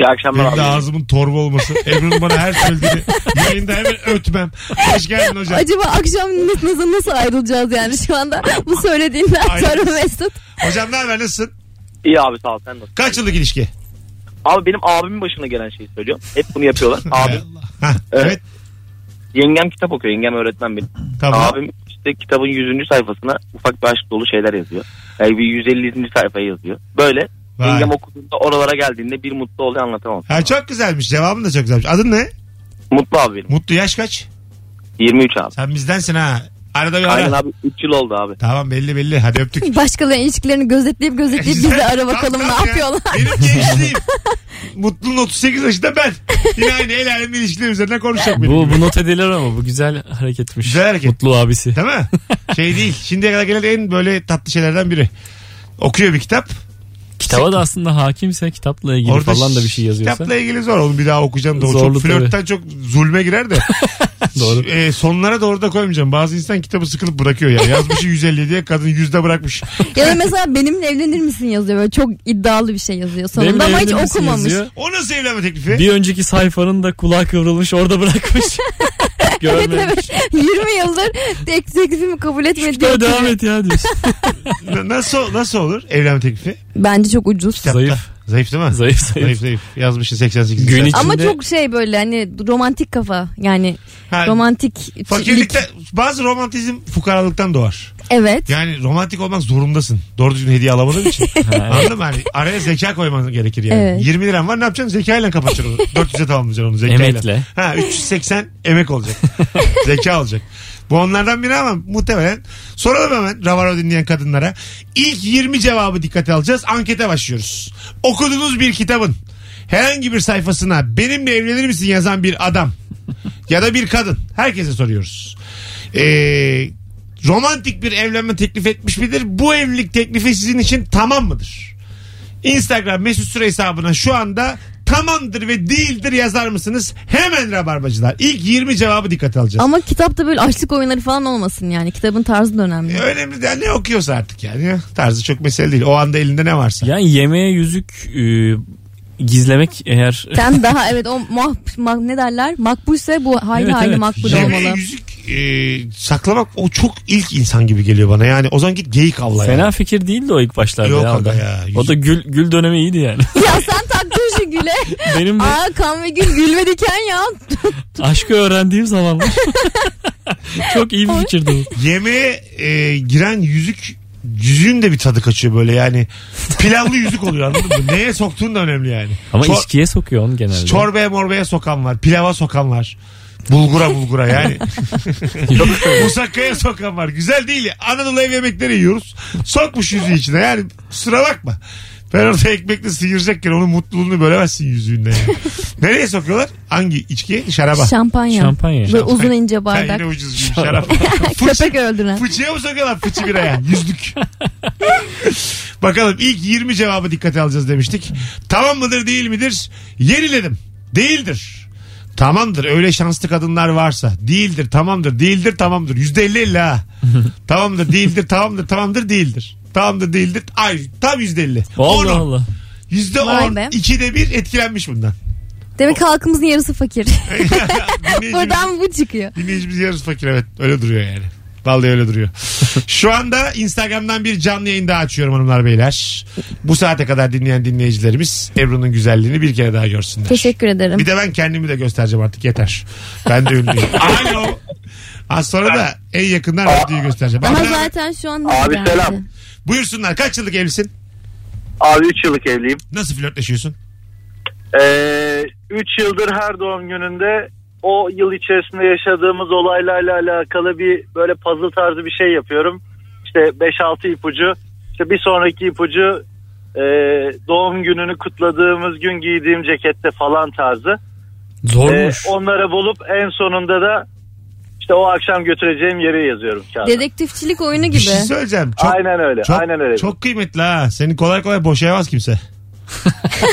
[SPEAKER 7] İyi akşamlar
[SPEAKER 2] Benim de
[SPEAKER 7] abi.
[SPEAKER 2] ağzımın torba olması. Ebru'nun bana her söylediğini yayında hemen ötmem. Hoş geldin hocam.
[SPEAKER 4] Acaba akşam nasıl, nasıl ayrılacağız yani şu anda bu söylediğinden
[SPEAKER 2] Aynen.
[SPEAKER 4] sonra Mesut.
[SPEAKER 2] Hocam ne haber nasılsın?
[SPEAKER 7] İyi abi sağ ol sen nasılsın?
[SPEAKER 2] Kaç yıllık ilişki?
[SPEAKER 7] Abi benim abimin başına gelen şeyi söylüyorum. Hep bunu yapıyorlar. Abi
[SPEAKER 2] Ha,
[SPEAKER 7] Evet.
[SPEAKER 2] evet.
[SPEAKER 7] yengem kitap okuyor. Yengem öğretmen benim.
[SPEAKER 2] Tamam.
[SPEAKER 7] Abim işte kitabın 100. sayfasına ufak bir aşk dolu şeyler yazıyor. Yani bir 150. sayfaya yazıyor. Böyle
[SPEAKER 2] Vay.
[SPEAKER 7] yengem okuduğunda oralara geldiğinde bir mutlu oluyor anlatamam.
[SPEAKER 2] Ha, çok güzelmiş. Cevabın da çok güzelmiş. Adın ne?
[SPEAKER 7] Mutlu abi benim.
[SPEAKER 2] Mutlu yaş kaç?
[SPEAKER 7] 23 abi.
[SPEAKER 2] Sen bizdensin ha. Arada bir
[SPEAKER 7] Aynen
[SPEAKER 2] ara.
[SPEAKER 7] abi 3 yıl oldu abi.
[SPEAKER 2] Tamam belli belli.
[SPEAKER 7] [laughs]
[SPEAKER 2] Hadi öptük.
[SPEAKER 4] Başkalarının ilişkilerini gözetleyip gözetleyip
[SPEAKER 2] Güzel.
[SPEAKER 4] bizi ara
[SPEAKER 2] Tamam,
[SPEAKER 4] bakalım
[SPEAKER 2] tamam
[SPEAKER 4] ne
[SPEAKER 2] ya.
[SPEAKER 4] yapıyorlar.
[SPEAKER 2] Benim gençliğim. Mutlu'nun 38 yaşında ben. Yine aynı el alemin ilişkileri üzerinden konuşacak benim.
[SPEAKER 3] Bu, bu not edilir ama bu güzel hareketmiş.
[SPEAKER 2] Güzel hareket.
[SPEAKER 3] Mutlu abisi.
[SPEAKER 2] Değil mi? Şey değil. Şimdiye kadar gelen en böyle tatlı şeylerden biri. Okuyor bir kitap.
[SPEAKER 3] Kitaba da aslında hakimse kitapla ilgili falan da bir şey yazıyorsa.
[SPEAKER 2] Kitapla ilgili zor. Onu bir daha okuyacağım da. O
[SPEAKER 3] Zorlu
[SPEAKER 2] çok flörtten çok zulme girer de.
[SPEAKER 3] [laughs] Doğru.
[SPEAKER 2] E, sonlara doğru da koymayacağım. Bazı insan kitabı sıkılıp bırakıyor ya. Yazmışı 150 diye kadın yüzde bırakmış.
[SPEAKER 4] Ya da mesela benimle evlenir misin yazıyor böyle çok iddialı bir şey yazıyor
[SPEAKER 3] Benim
[SPEAKER 4] sonunda ama hiç
[SPEAKER 3] evlenir misin
[SPEAKER 4] okumamış. [laughs]
[SPEAKER 3] yazıyor.
[SPEAKER 2] O nasıl evlenme teklifi?
[SPEAKER 3] Bir önceki sayfanın da kulağı kıvrılmış orada
[SPEAKER 4] [laughs]
[SPEAKER 3] bırakmış. [laughs] Görmemiş.
[SPEAKER 4] 20 yıldır tek teklifimi kabul etmedi. diyor.
[SPEAKER 3] Böyle devam et ya
[SPEAKER 4] [laughs]
[SPEAKER 3] diyorsun.
[SPEAKER 2] Na- Nasıl nasıl olur evlenme teklifi?
[SPEAKER 4] Bence çok ucuz.
[SPEAKER 2] Kitapta.
[SPEAKER 3] Zayıf.
[SPEAKER 2] Zayıf değil mi?
[SPEAKER 3] Zayıf zayıf.
[SPEAKER 2] Zayıf zayıf. Yazmışsın 88.
[SPEAKER 3] Gün
[SPEAKER 2] Gün
[SPEAKER 3] içi-
[SPEAKER 4] Ama
[SPEAKER 3] İçinde-
[SPEAKER 4] çok şey böyle hani romantik kafa yani
[SPEAKER 2] ha,
[SPEAKER 4] romantik
[SPEAKER 2] Fakirlikte bazı romantizm fukaralıktan doğar.
[SPEAKER 4] evet
[SPEAKER 2] Yani romantik olmak zorundasın. Doğru düzgün hediye alamadığın
[SPEAKER 4] [laughs]
[SPEAKER 2] için. Anladın mı? Hani araya zeka koyman gerekir yani.
[SPEAKER 4] Evet.
[SPEAKER 2] 20 liran var ne yapacaksın? Zekayla kapatacaksın onu. 400'e tamamlayacaksın onu zekayla.
[SPEAKER 3] Emekle.
[SPEAKER 2] Ha 380 emek olacak. Zeka olacak. Bu onlardan biri ama muhtemelen. Soralım hemen Ravaro dinleyen kadınlara. İlk 20 cevabı dikkate alacağız. Ankete başlıyoruz. Okuduğunuz bir kitabın herhangi bir sayfasına benimle evlenir misin yazan bir adam ya da bir kadın. Herkese soruyoruz. Ee, romantik bir evlenme teklif etmiş midir? Bu evlilik teklifi sizin için tamam mıdır? Instagram mesut süre hesabına şu anda tamamdır ve değildir yazar mısınız? Hemen rabarbacılar. İlk 20 cevabı dikkate alacağız.
[SPEAKER 4] ama kitapta böyle açlık oyunları falan olmasın yani kitabın tarzı da önemli.
[SPEAKER 2] E, Önemli değil. Ne okuyorsa artık yani. Tarzı çok mesele değil. O anda elinde ne varsa.
[SPEAKER 3] Yani yemeğe yüzük e, gizlemek
[SPEAKER 4] [laughs]
[SPEAKER 3] eğer
[SPEAKER 4] Sen daha evet o mah, mah- ne derler makbulse bu hayli
[SPEAKER 3] Evet,
[SPEAKER 4] hayli
[SPEAKER 3] evet.
[SPEAKER 4] makbul
[SPEAKER 2] Yemeğe
[SPEAKER 4] olmalı.
[SPEAKER 2] yüzük e, saklamak o çok ilk insan gibi geliyor bana. Yani o zaman git geyik avla
[SPEAKER 3] fena
[SPEAKER 2] yani.
[SPEAKER 3] fikir değildi o ilk başlarda
[SPEAKER 2] Yok
[SPEAKER 3] ya. o
[SPEAKER 2] aga
[SPEAKER 3] da.
[SPEAKER 2] ya, yüzük-
[SPEAKER 3] O da gül, gül dönemi iyiydi yani.
[SPEAKER 2] [laughs]
[SPEAKER 4] ya sen taktın şu güle.
[SPEAKER 3] [laughs] Benim de
[SPEAKER 4] Aa kan ve gül gülme diken ya.
[SPEAKER 3] aşkı öğrendiğim zamanlar. [laughs] Çok iyi bir fikirdi bu.
[SPEAKER 2] Yemeğe e, giren yüzük yüzüğün de bir tadı kaçıyor böyle yani. Pilavlı yüzük oluyor anladın mı? Neye soktuğun da önemli yani.
[SPEAKER 3] Ama
[SPEAKER 2] Çor-
[SPEAKER 3] içkiye sokuyor onu genelde.
[SPEAKER 2] Çorbaya morbaya sokan var. Pilava sokan var. Bulgura bulgura
[SPEAKER 4] [laughs]
[SPEAKER 2] yani. [laughs] Musakkaya sokan var. Güzel değil ya. Anadolu ev yemekleri yiyoruz. Sokmuş yüzüğü içine yani. Kusura bakma. Ben orada ekmekle sıyıracakken onun mutluluğunu bölemezsin yüzüğünde
[SPEAKER 4] [laughs]
[SPEAKER 2] yani. Nereye sokuyorlar? Hangi içki? Şaraba.
[SPEAKER 4] Şampanya.
[SPEAKER 3] Şampanya.
[SPEAKER 4] Böyle uzun ince
[SPEAKER 2] Ha,
[SPEAKER 4] bardak.
[SPEAKER 2] yine ucuz bir şarap. Fıçı-
[SPEAKER 4] [laughs] Köpek öldüren.
[SPEAKER 2] Fıçıya mı sokuyorlar fıçı biraya? Yüzlük. Bakalım ilk 20 cevabı dikkate alacağız demiştik. Tamam mıdır değil midir? Yeniledim. Değildir. Tamamdır öyle şanslı kadınlar varsa. Değildir tamamdır değildir tamamdır. Yüzde elli elli ha. tamamdır değildir tamamdır tamamdır değildir. Tamamdır değildir. Ay tam yüzde elli.
[SPEAKER 3] Allah
[SPEAKER 2] Onu.
[SPEAKER 3] Allah.
[SPEAKER 2] Yüzde
[SPEAKER 4] Vay
[SPEAKER 2] on.
[SPEAKER 4] be.
[SPEAKER 2] İkide bir etkilenmiş bundan.
[SPEAKER 4] Demek ki halkımızın yarısı fakir.
[SPEAKER 2] Dinleyicimiz-
[SPEAKER 4] [laughs] Buradan bu çıkıyor.
[SPEAKER 2] Dinleyicimiz yarısı fakir evet. Öyle duruyor yani. Vallahi öyle
[SPEAKER 9] [laughs]
[SPEAKER 2] duruyor. Şu anda Instagram'dan bir canlı yayın daha açıyorum hanımlar beyler. Bu saate kadar dinleyen dinleyicilerimiz Ebru'nun güzelliğini bir kere daha görsünler.
[SPEAKER 4] Teşekkür ederim.
[SPEAKER 9] [laughs]
[SPEAKER 2] Bir de ben kendimi de göstereceğim artık yeter. Ben de ünlüyüm. Alo. Az sonra da en yakından radyoyu göstereceğim.
[SPEAKER 4] Ama
[SPEAKER 2] Abi,
[SPEAKER 4] zaten şu an
[SPEAKER 9] Abi
[SPEAKER 4] nerede?
[SPEAKER 9] selam.
[SPEAKER 2] Buyursunlar kaç yıllık evlisin?
[SPEAKER 9] Abi 3 yıllık evliyim.
[SPEAKER 2] Nasıl flörtleşiyorsun?
[SPEAKER 9] 3 Ee, yıldır her doğum gününde o yıl içerisinde yaşadığımız olaylarla alakalı bir böyle puzzle tarzı bir şey yapıyorum. İşte 5-6 ipucu. İşte bir sonraki ipucu e, doğum gününü kutladığımız gün giydiğim cekette falan tarzı. E,
[SPEAKER 3] Zormuş.
[SPEAKER 9] onları bulup en sonunda da işte o akşam götüreceğim yere yazıyorum kağıda.
[SPEAKER 4] Dedektifçilik oyunu
[SPEAKER 2] Bir şey
[SPEAKER 4] gibi.
[SPEAKER 2] söyleyeceğim. Çok,
[SPEAKER 9] aynen öyle.
[SPEAKER 2] çok,
[SPEAKER 9] aynen öyle.
[SPEAKER 2] Çok kıymetli ha. Seni kolay kolay boşayamaz kimse.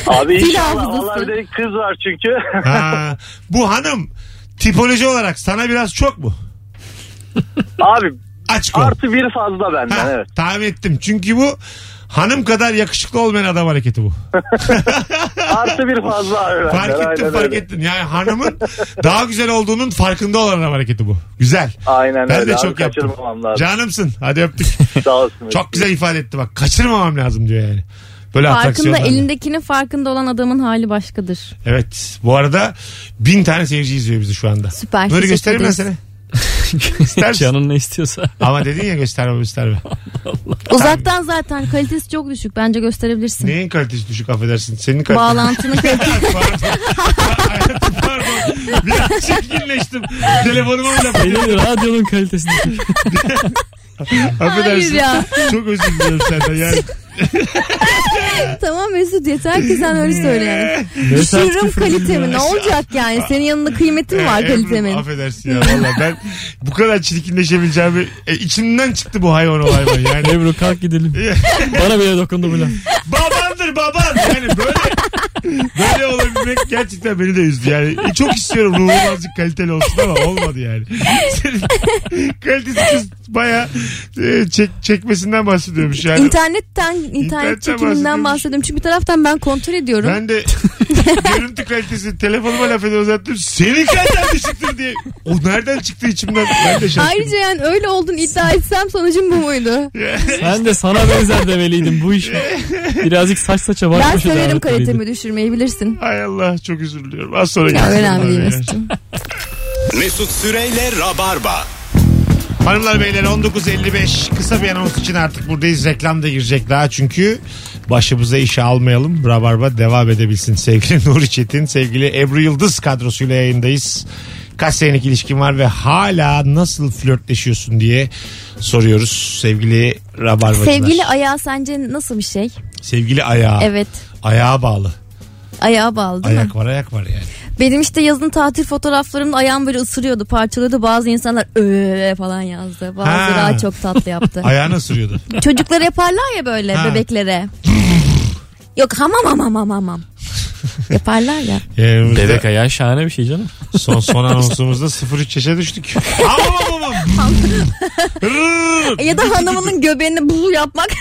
[SPEAKER 9] Abi
[SPEAKER 4] Dil
[SPEAKER 9] inşallah.
[SPEAKER 4] hafızası.
[SPEAKER 9] Vallahi bir de kız var çünkü. [laughs]
[SPEAKER 2] Ha, bu hanım tipoloji olarak sana biraz çok mu?
[SPEAKER 9] Abi
[SPEAKER 2] Açık ol.
[SPEAKER 9] artı bir fazla benden
[SPEAKER 2] Ha,
[SPEAKER 9] evet.
[SPEAKER 2] Tahmin ettim. Çünkü bu hanım kadar yakışıklı olmayan adam hareketi bu.
[SPEAKER 9] Artı bir fazla abi benden.
[SPEAKER 2] fark ettim
[SPEAKER 9] aynen
[SPEAKER 2] fark
[SPEAKER 9] öyle.
[SPEAKER 2] ettim. Yani hanımın daha güzel olduğunun farkında olan adam hareketi bu. Güzel.
[SPEAKER 9] Aynen
[SPEAKER 2] Ben
[SPEAKER 9] öyle.
[SPEAKER 2] de
[SPEAKER 9] abi,
[SPEAKER 2] çok yaptım.
[SPEAKER 9] kaçırmamam lazım.
[SPEAKER 2] Canımsın. Hadi öptük.
[SPEAKER 9] Sağ olsun.
[SPEAKER 2] Çok güzel ifade etti bak. Kaçırmamam lazım diyor yani. Böyle
[SPEAKER 4] Farkında
[SPEAKER 2] atraksiyonlar.
[SPEAKER 4] elindekinin farkında olan adamın hali başkadır.
[SPEAKER 2] Evet. Bu arada bin tane seyirci izliyor bizi şu anda.
[SPEAKER 4] Süper,
[SPEAKER 2] Böyle
[SPEAKER 4] teşekkür
[SPEAKER 2] göstereyim ben
[SPEAKER 4] ederiz.
[SPEAKER 2] seni. İstersin.
[SPEAKER 3] Canın
[SPEAKER 2] [laughs]
[SPEAKER 3] ne istiyorsa.
[SPEAKER 2] Ama dedin ya gösterme gösterme.
[SPEAKER 4] Uzaktan zaten kalitesi çok düşük. Bence gösterebilirsin.
[SPEAKER 2] Neyin kalitesi düşük affedersin? Senin kalitesi.
[SPEAKER 4] Bağlantının kalitesi.
[SPEAKER 2] Pardon. Hayatım [laughs] pardon. Biraz çirkinleştim. Telefonuma bile
[SPEAKER 3] Benim radyonun kalitesi. düşük.
[SPEAKER 2] Affedersin.
[SPEAKER 4] Hayır ya.
[SPEAKER 2] [laughs] Çok özür diliyorum senden. Yani
[SPEAKER 4] [laughs] tamam Mesut yeter ki sen öyle söyle yani.
[SPEAKER 3] Mesut
[SPEAKER 4] Düşürürüm
[SPEAKER 3] küfür
[SPEAKER 4] kalitemi
[SPEAKER 3] ediyor.
[SPEAKER 4] ne olacak yani? Senin yanında kıymetin var
[SPEAKER 2] Ebru,
[SPEAKER 4] kalitemin.
[SPEAKER 2] Ee, Affedersin ya valla ben bu kadar çirkinleşebileceğimi e, içimden çıktı bu hayvan olay bana
[SPEAKER 4] [laughs]
[SPEAKER 2] yani.
[SPEAKER 3] Ebru
[SPEAKER 2] [laughs]
[SPEAKER 3] kalk gidelim. Bana bile dokundu bu laf.
[SPEAKER 2] Babandır baban yani böyle böyle olabilmek gerçekten beni de üzdü yani. E, çok istiyorum ruhum azıcık kaliteli olsun ama olmadı yani. Senin [laughs] kalitesi kız baya e, çek, çekmesinden bahsediyormuş yani.
[SPEAKER 4] İnternetten, internet çekiminden bahsediyorum. Çünkü bir taraftan ben kontrol ediyorum.
[SPEAKER 2] Ben de görüntü kalitesi telefonuma laf ediyor uzattım. Senin kaliten düşüktür diye. O nereden çıktı içimden? Ben de şaşkınım.
[SPEAKER 4] Ayrıca yani öyle olduğunu iddia etsem sonucum bu muydu?
[SPEAKER 3] Ben de sana benzer demeliydim bu iş. Birazcık saç saça
[SPEAKER 4] ben
[SPEAKER 2] şey
[SPEAKER 3] bakmışız.
[SPEAKER 4] severim
[SPEAKER 3] davetliydi.
[SPEAKER 4] kalitemi düşürmeyi bilirsin.
[SPEAKER 2] Hay Allah çok üzülüyorum. Az sonra
[SPEAKER 4] Ya
[SPEAKER 2] gelsin.
[SPEAKER 4] önemli değil
[SPEAKER 2] bana ya.
[SPEAKER 4] Mesut'cum.
[SPEAKER 1] Mesut Süreyle Rabarba.
[SPEAKER 2] Hanımlar beyler 19.55 kısa bir anons için artık buradayız. Reklam da girecek daha çünkü başımıza işe almayalım. Rabarba devam edebilsin. Sevgili [laughs] Nuri Çetin, sevgili Ebru Yıldız kadrosuyla yayındayız. Kaç senelik ilişkin var ve hala nasıl flörtleşiyorsun diye soruyoruz sevgili Rabarbacılar.
[SPEAKER 4] Sevgili ayağı sence nasıl bir şey?
[SPEAKER 2] Sevgili ayağa.
[SPEAKER 4] Evet.
[SPEAKER 2] Ayağa bağlı.
[SPEAKER 4] Ayağa bağlı değil mi?
[SPEAKER 2] ayak var ayak var yani.
[SPEAKER 4] Benim işte yazın tatil fotoğraflarımda ayağım böyle ısırıyordu, parçalıyordu. Bazı insanlar öyle falan yazdı. Bazıları
[SPEAKER 2] Ha.
[SPEAKER 4] daha çok
[SPEAKER 2] [laughs]
[SPEAKER 4] tatlı yaptı.
[SPEAKER 2] Ayağına sürüyordu.
[SPEAKER 4] Çocuklara yaparlar ya böyle
[SPEAKER 2] Ha.
[SPEAKER 4] bebeklere. Yok hamam hamam
[SPEAKER 2] [laughs]
[SPEAKER 4] hamam hamam. yaparlar ya.
[SPEAKER 2] Yani
[SPEAKER 3] Bebek ayağı şahane bir şey canım.
[SPEAKER 2] Son son anonsumuzda 0-3 yaşa düştük. Aman aman aman. Rrrr.
[SPEAKER 4] E ya da hanımının göbeğini bul yapmak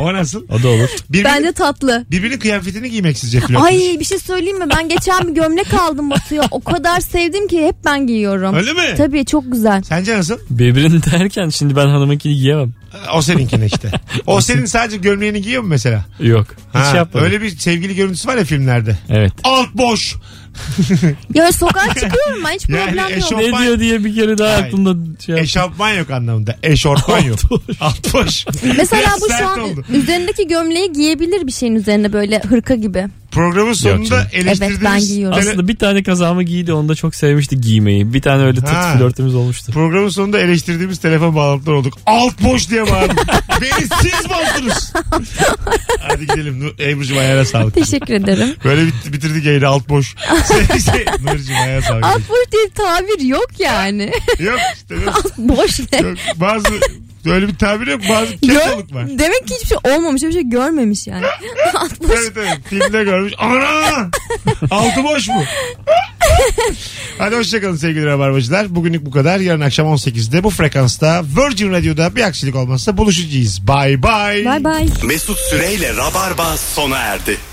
[SPEAKER 2] o nasıl?
[SPEAKER 3] O da olur.
[SPEAKER 2] Birbirini,
[SPEAKER 4] bence tatlı.
[SPEAKER 2] birbirinin kıyafetini giymek sizce flört.
[SPEAKER 4] Ay bir şey söyleyeyim mi? Ben geçen bir gömlek aldım Batu'ya. O kadar sevdim ki hep ben giyiyorum.
[SPEAKER 2] Öyle mi?
[SPEAKER 4] Tabii çok güzel.
[SPEAKER 2] Sence nasıl?
[SPEAKER 3] Birbirini derken şimdi ben hanımınkini giyemem.
[SPEAKER 2] O seninkine işte. O senin sadece gömleğini giyiyor mu mesela?
[SPEAKER 3] Yok. Hiç
[SPEAKER 2] Ha,
[SPEAKER 3] yapmadım.
[SPEAKER 2] Öyle bir sevgili görüntüsü var ya filmlerde.
[SPEAKER 3] Evet.
[SPEAKER 2] Alt boş.
[SPEAKER 4] Ya sokağa çıkıyorum ben hiç
[SPEAKER 2] Yani
[SPEAKER 4] problem yok.
[SPEAKER 2] eşofman-
[SPEAKER 3] Ne diyor diye bir kere daha
[SPEAKER 2] Hayır. E,
[SPEAKER 3] aklımda şey yaptım.
[SPEAKER 2] Eşofman yok anlamında. Eşortman yok. Alt boş.
[SPEAKER 4] Mesela bu şu
[SPEAKER 2] Sert
[SPEAKER 4] an
[SPEAKER 2] oldu.
[SPEAKER 4] üzerindeki gömleği giyebilir bir şeyin üzerine böyle hırka gibi.
[SPEAKER 2] Programın sonunda
[SPEAKER 3] canım.
[SPEAKER 2] eleştirdiğimiz...
[SPEAKER 4] Evet, ben giyiyorum.
[SPEAKER 2] tele-
[SPEAKER 3] [laughs] Aslında bir tane kazağımı giydi onda çok sevmişti giymeyi. Bir tane öyle
[SPEAKER 2] Ha.
[SPEAKER 3] tırt flörtümüz olmuştu.
[SPEAKER 2] Programın sonunda eleştirdiğimiz telefon bağlantıları olduk. Alt boş diye [laughs] bağırdık. Beni siz bozdunuz. Hadi gidelim. Nur- Ebru'cum ayağına sağlık. [laughs]
[SPEAKER 4] Teşekkür ederim.
[SPEAKER 2] Böyle bit- bitirdik yayını alt [laughs] boş. Şey- şey, Nurcuğum ayağa sağlık.
[SPEAKER 4] Alt boş diye bir tabir yok yani. [laughs]
[SPEAKER 2] Yok işte yok.
[SPEAKER 4] Alt boş ne?
[SPEAKER 2] yok. Bazı öyle bir tabir yok. Bazı [laughs]
[SPEAKER 4] Gör,
[SPEAKER 2] kesoluk var.
[SPEAKER 4] demek ki hiçbir şey olmamış. Hiçbir şey görmemiş yani. Alt boş.
[SPEAKER 2] Evet evet. Filmde görmüş. Ana! Altı boş mu? Hadi hoşçakalın sevgili Rabarbacılar. Bugünlük bu kadar. Yarın akşam 18'de bu frekansta Virgin Radio'da bir aksilik olmazsa buluşacağız. Bye bye.
[SPEAKER 4] Bay bay.
[SPEAKER 1] Mesut Süreyle Rabarba sona erdi.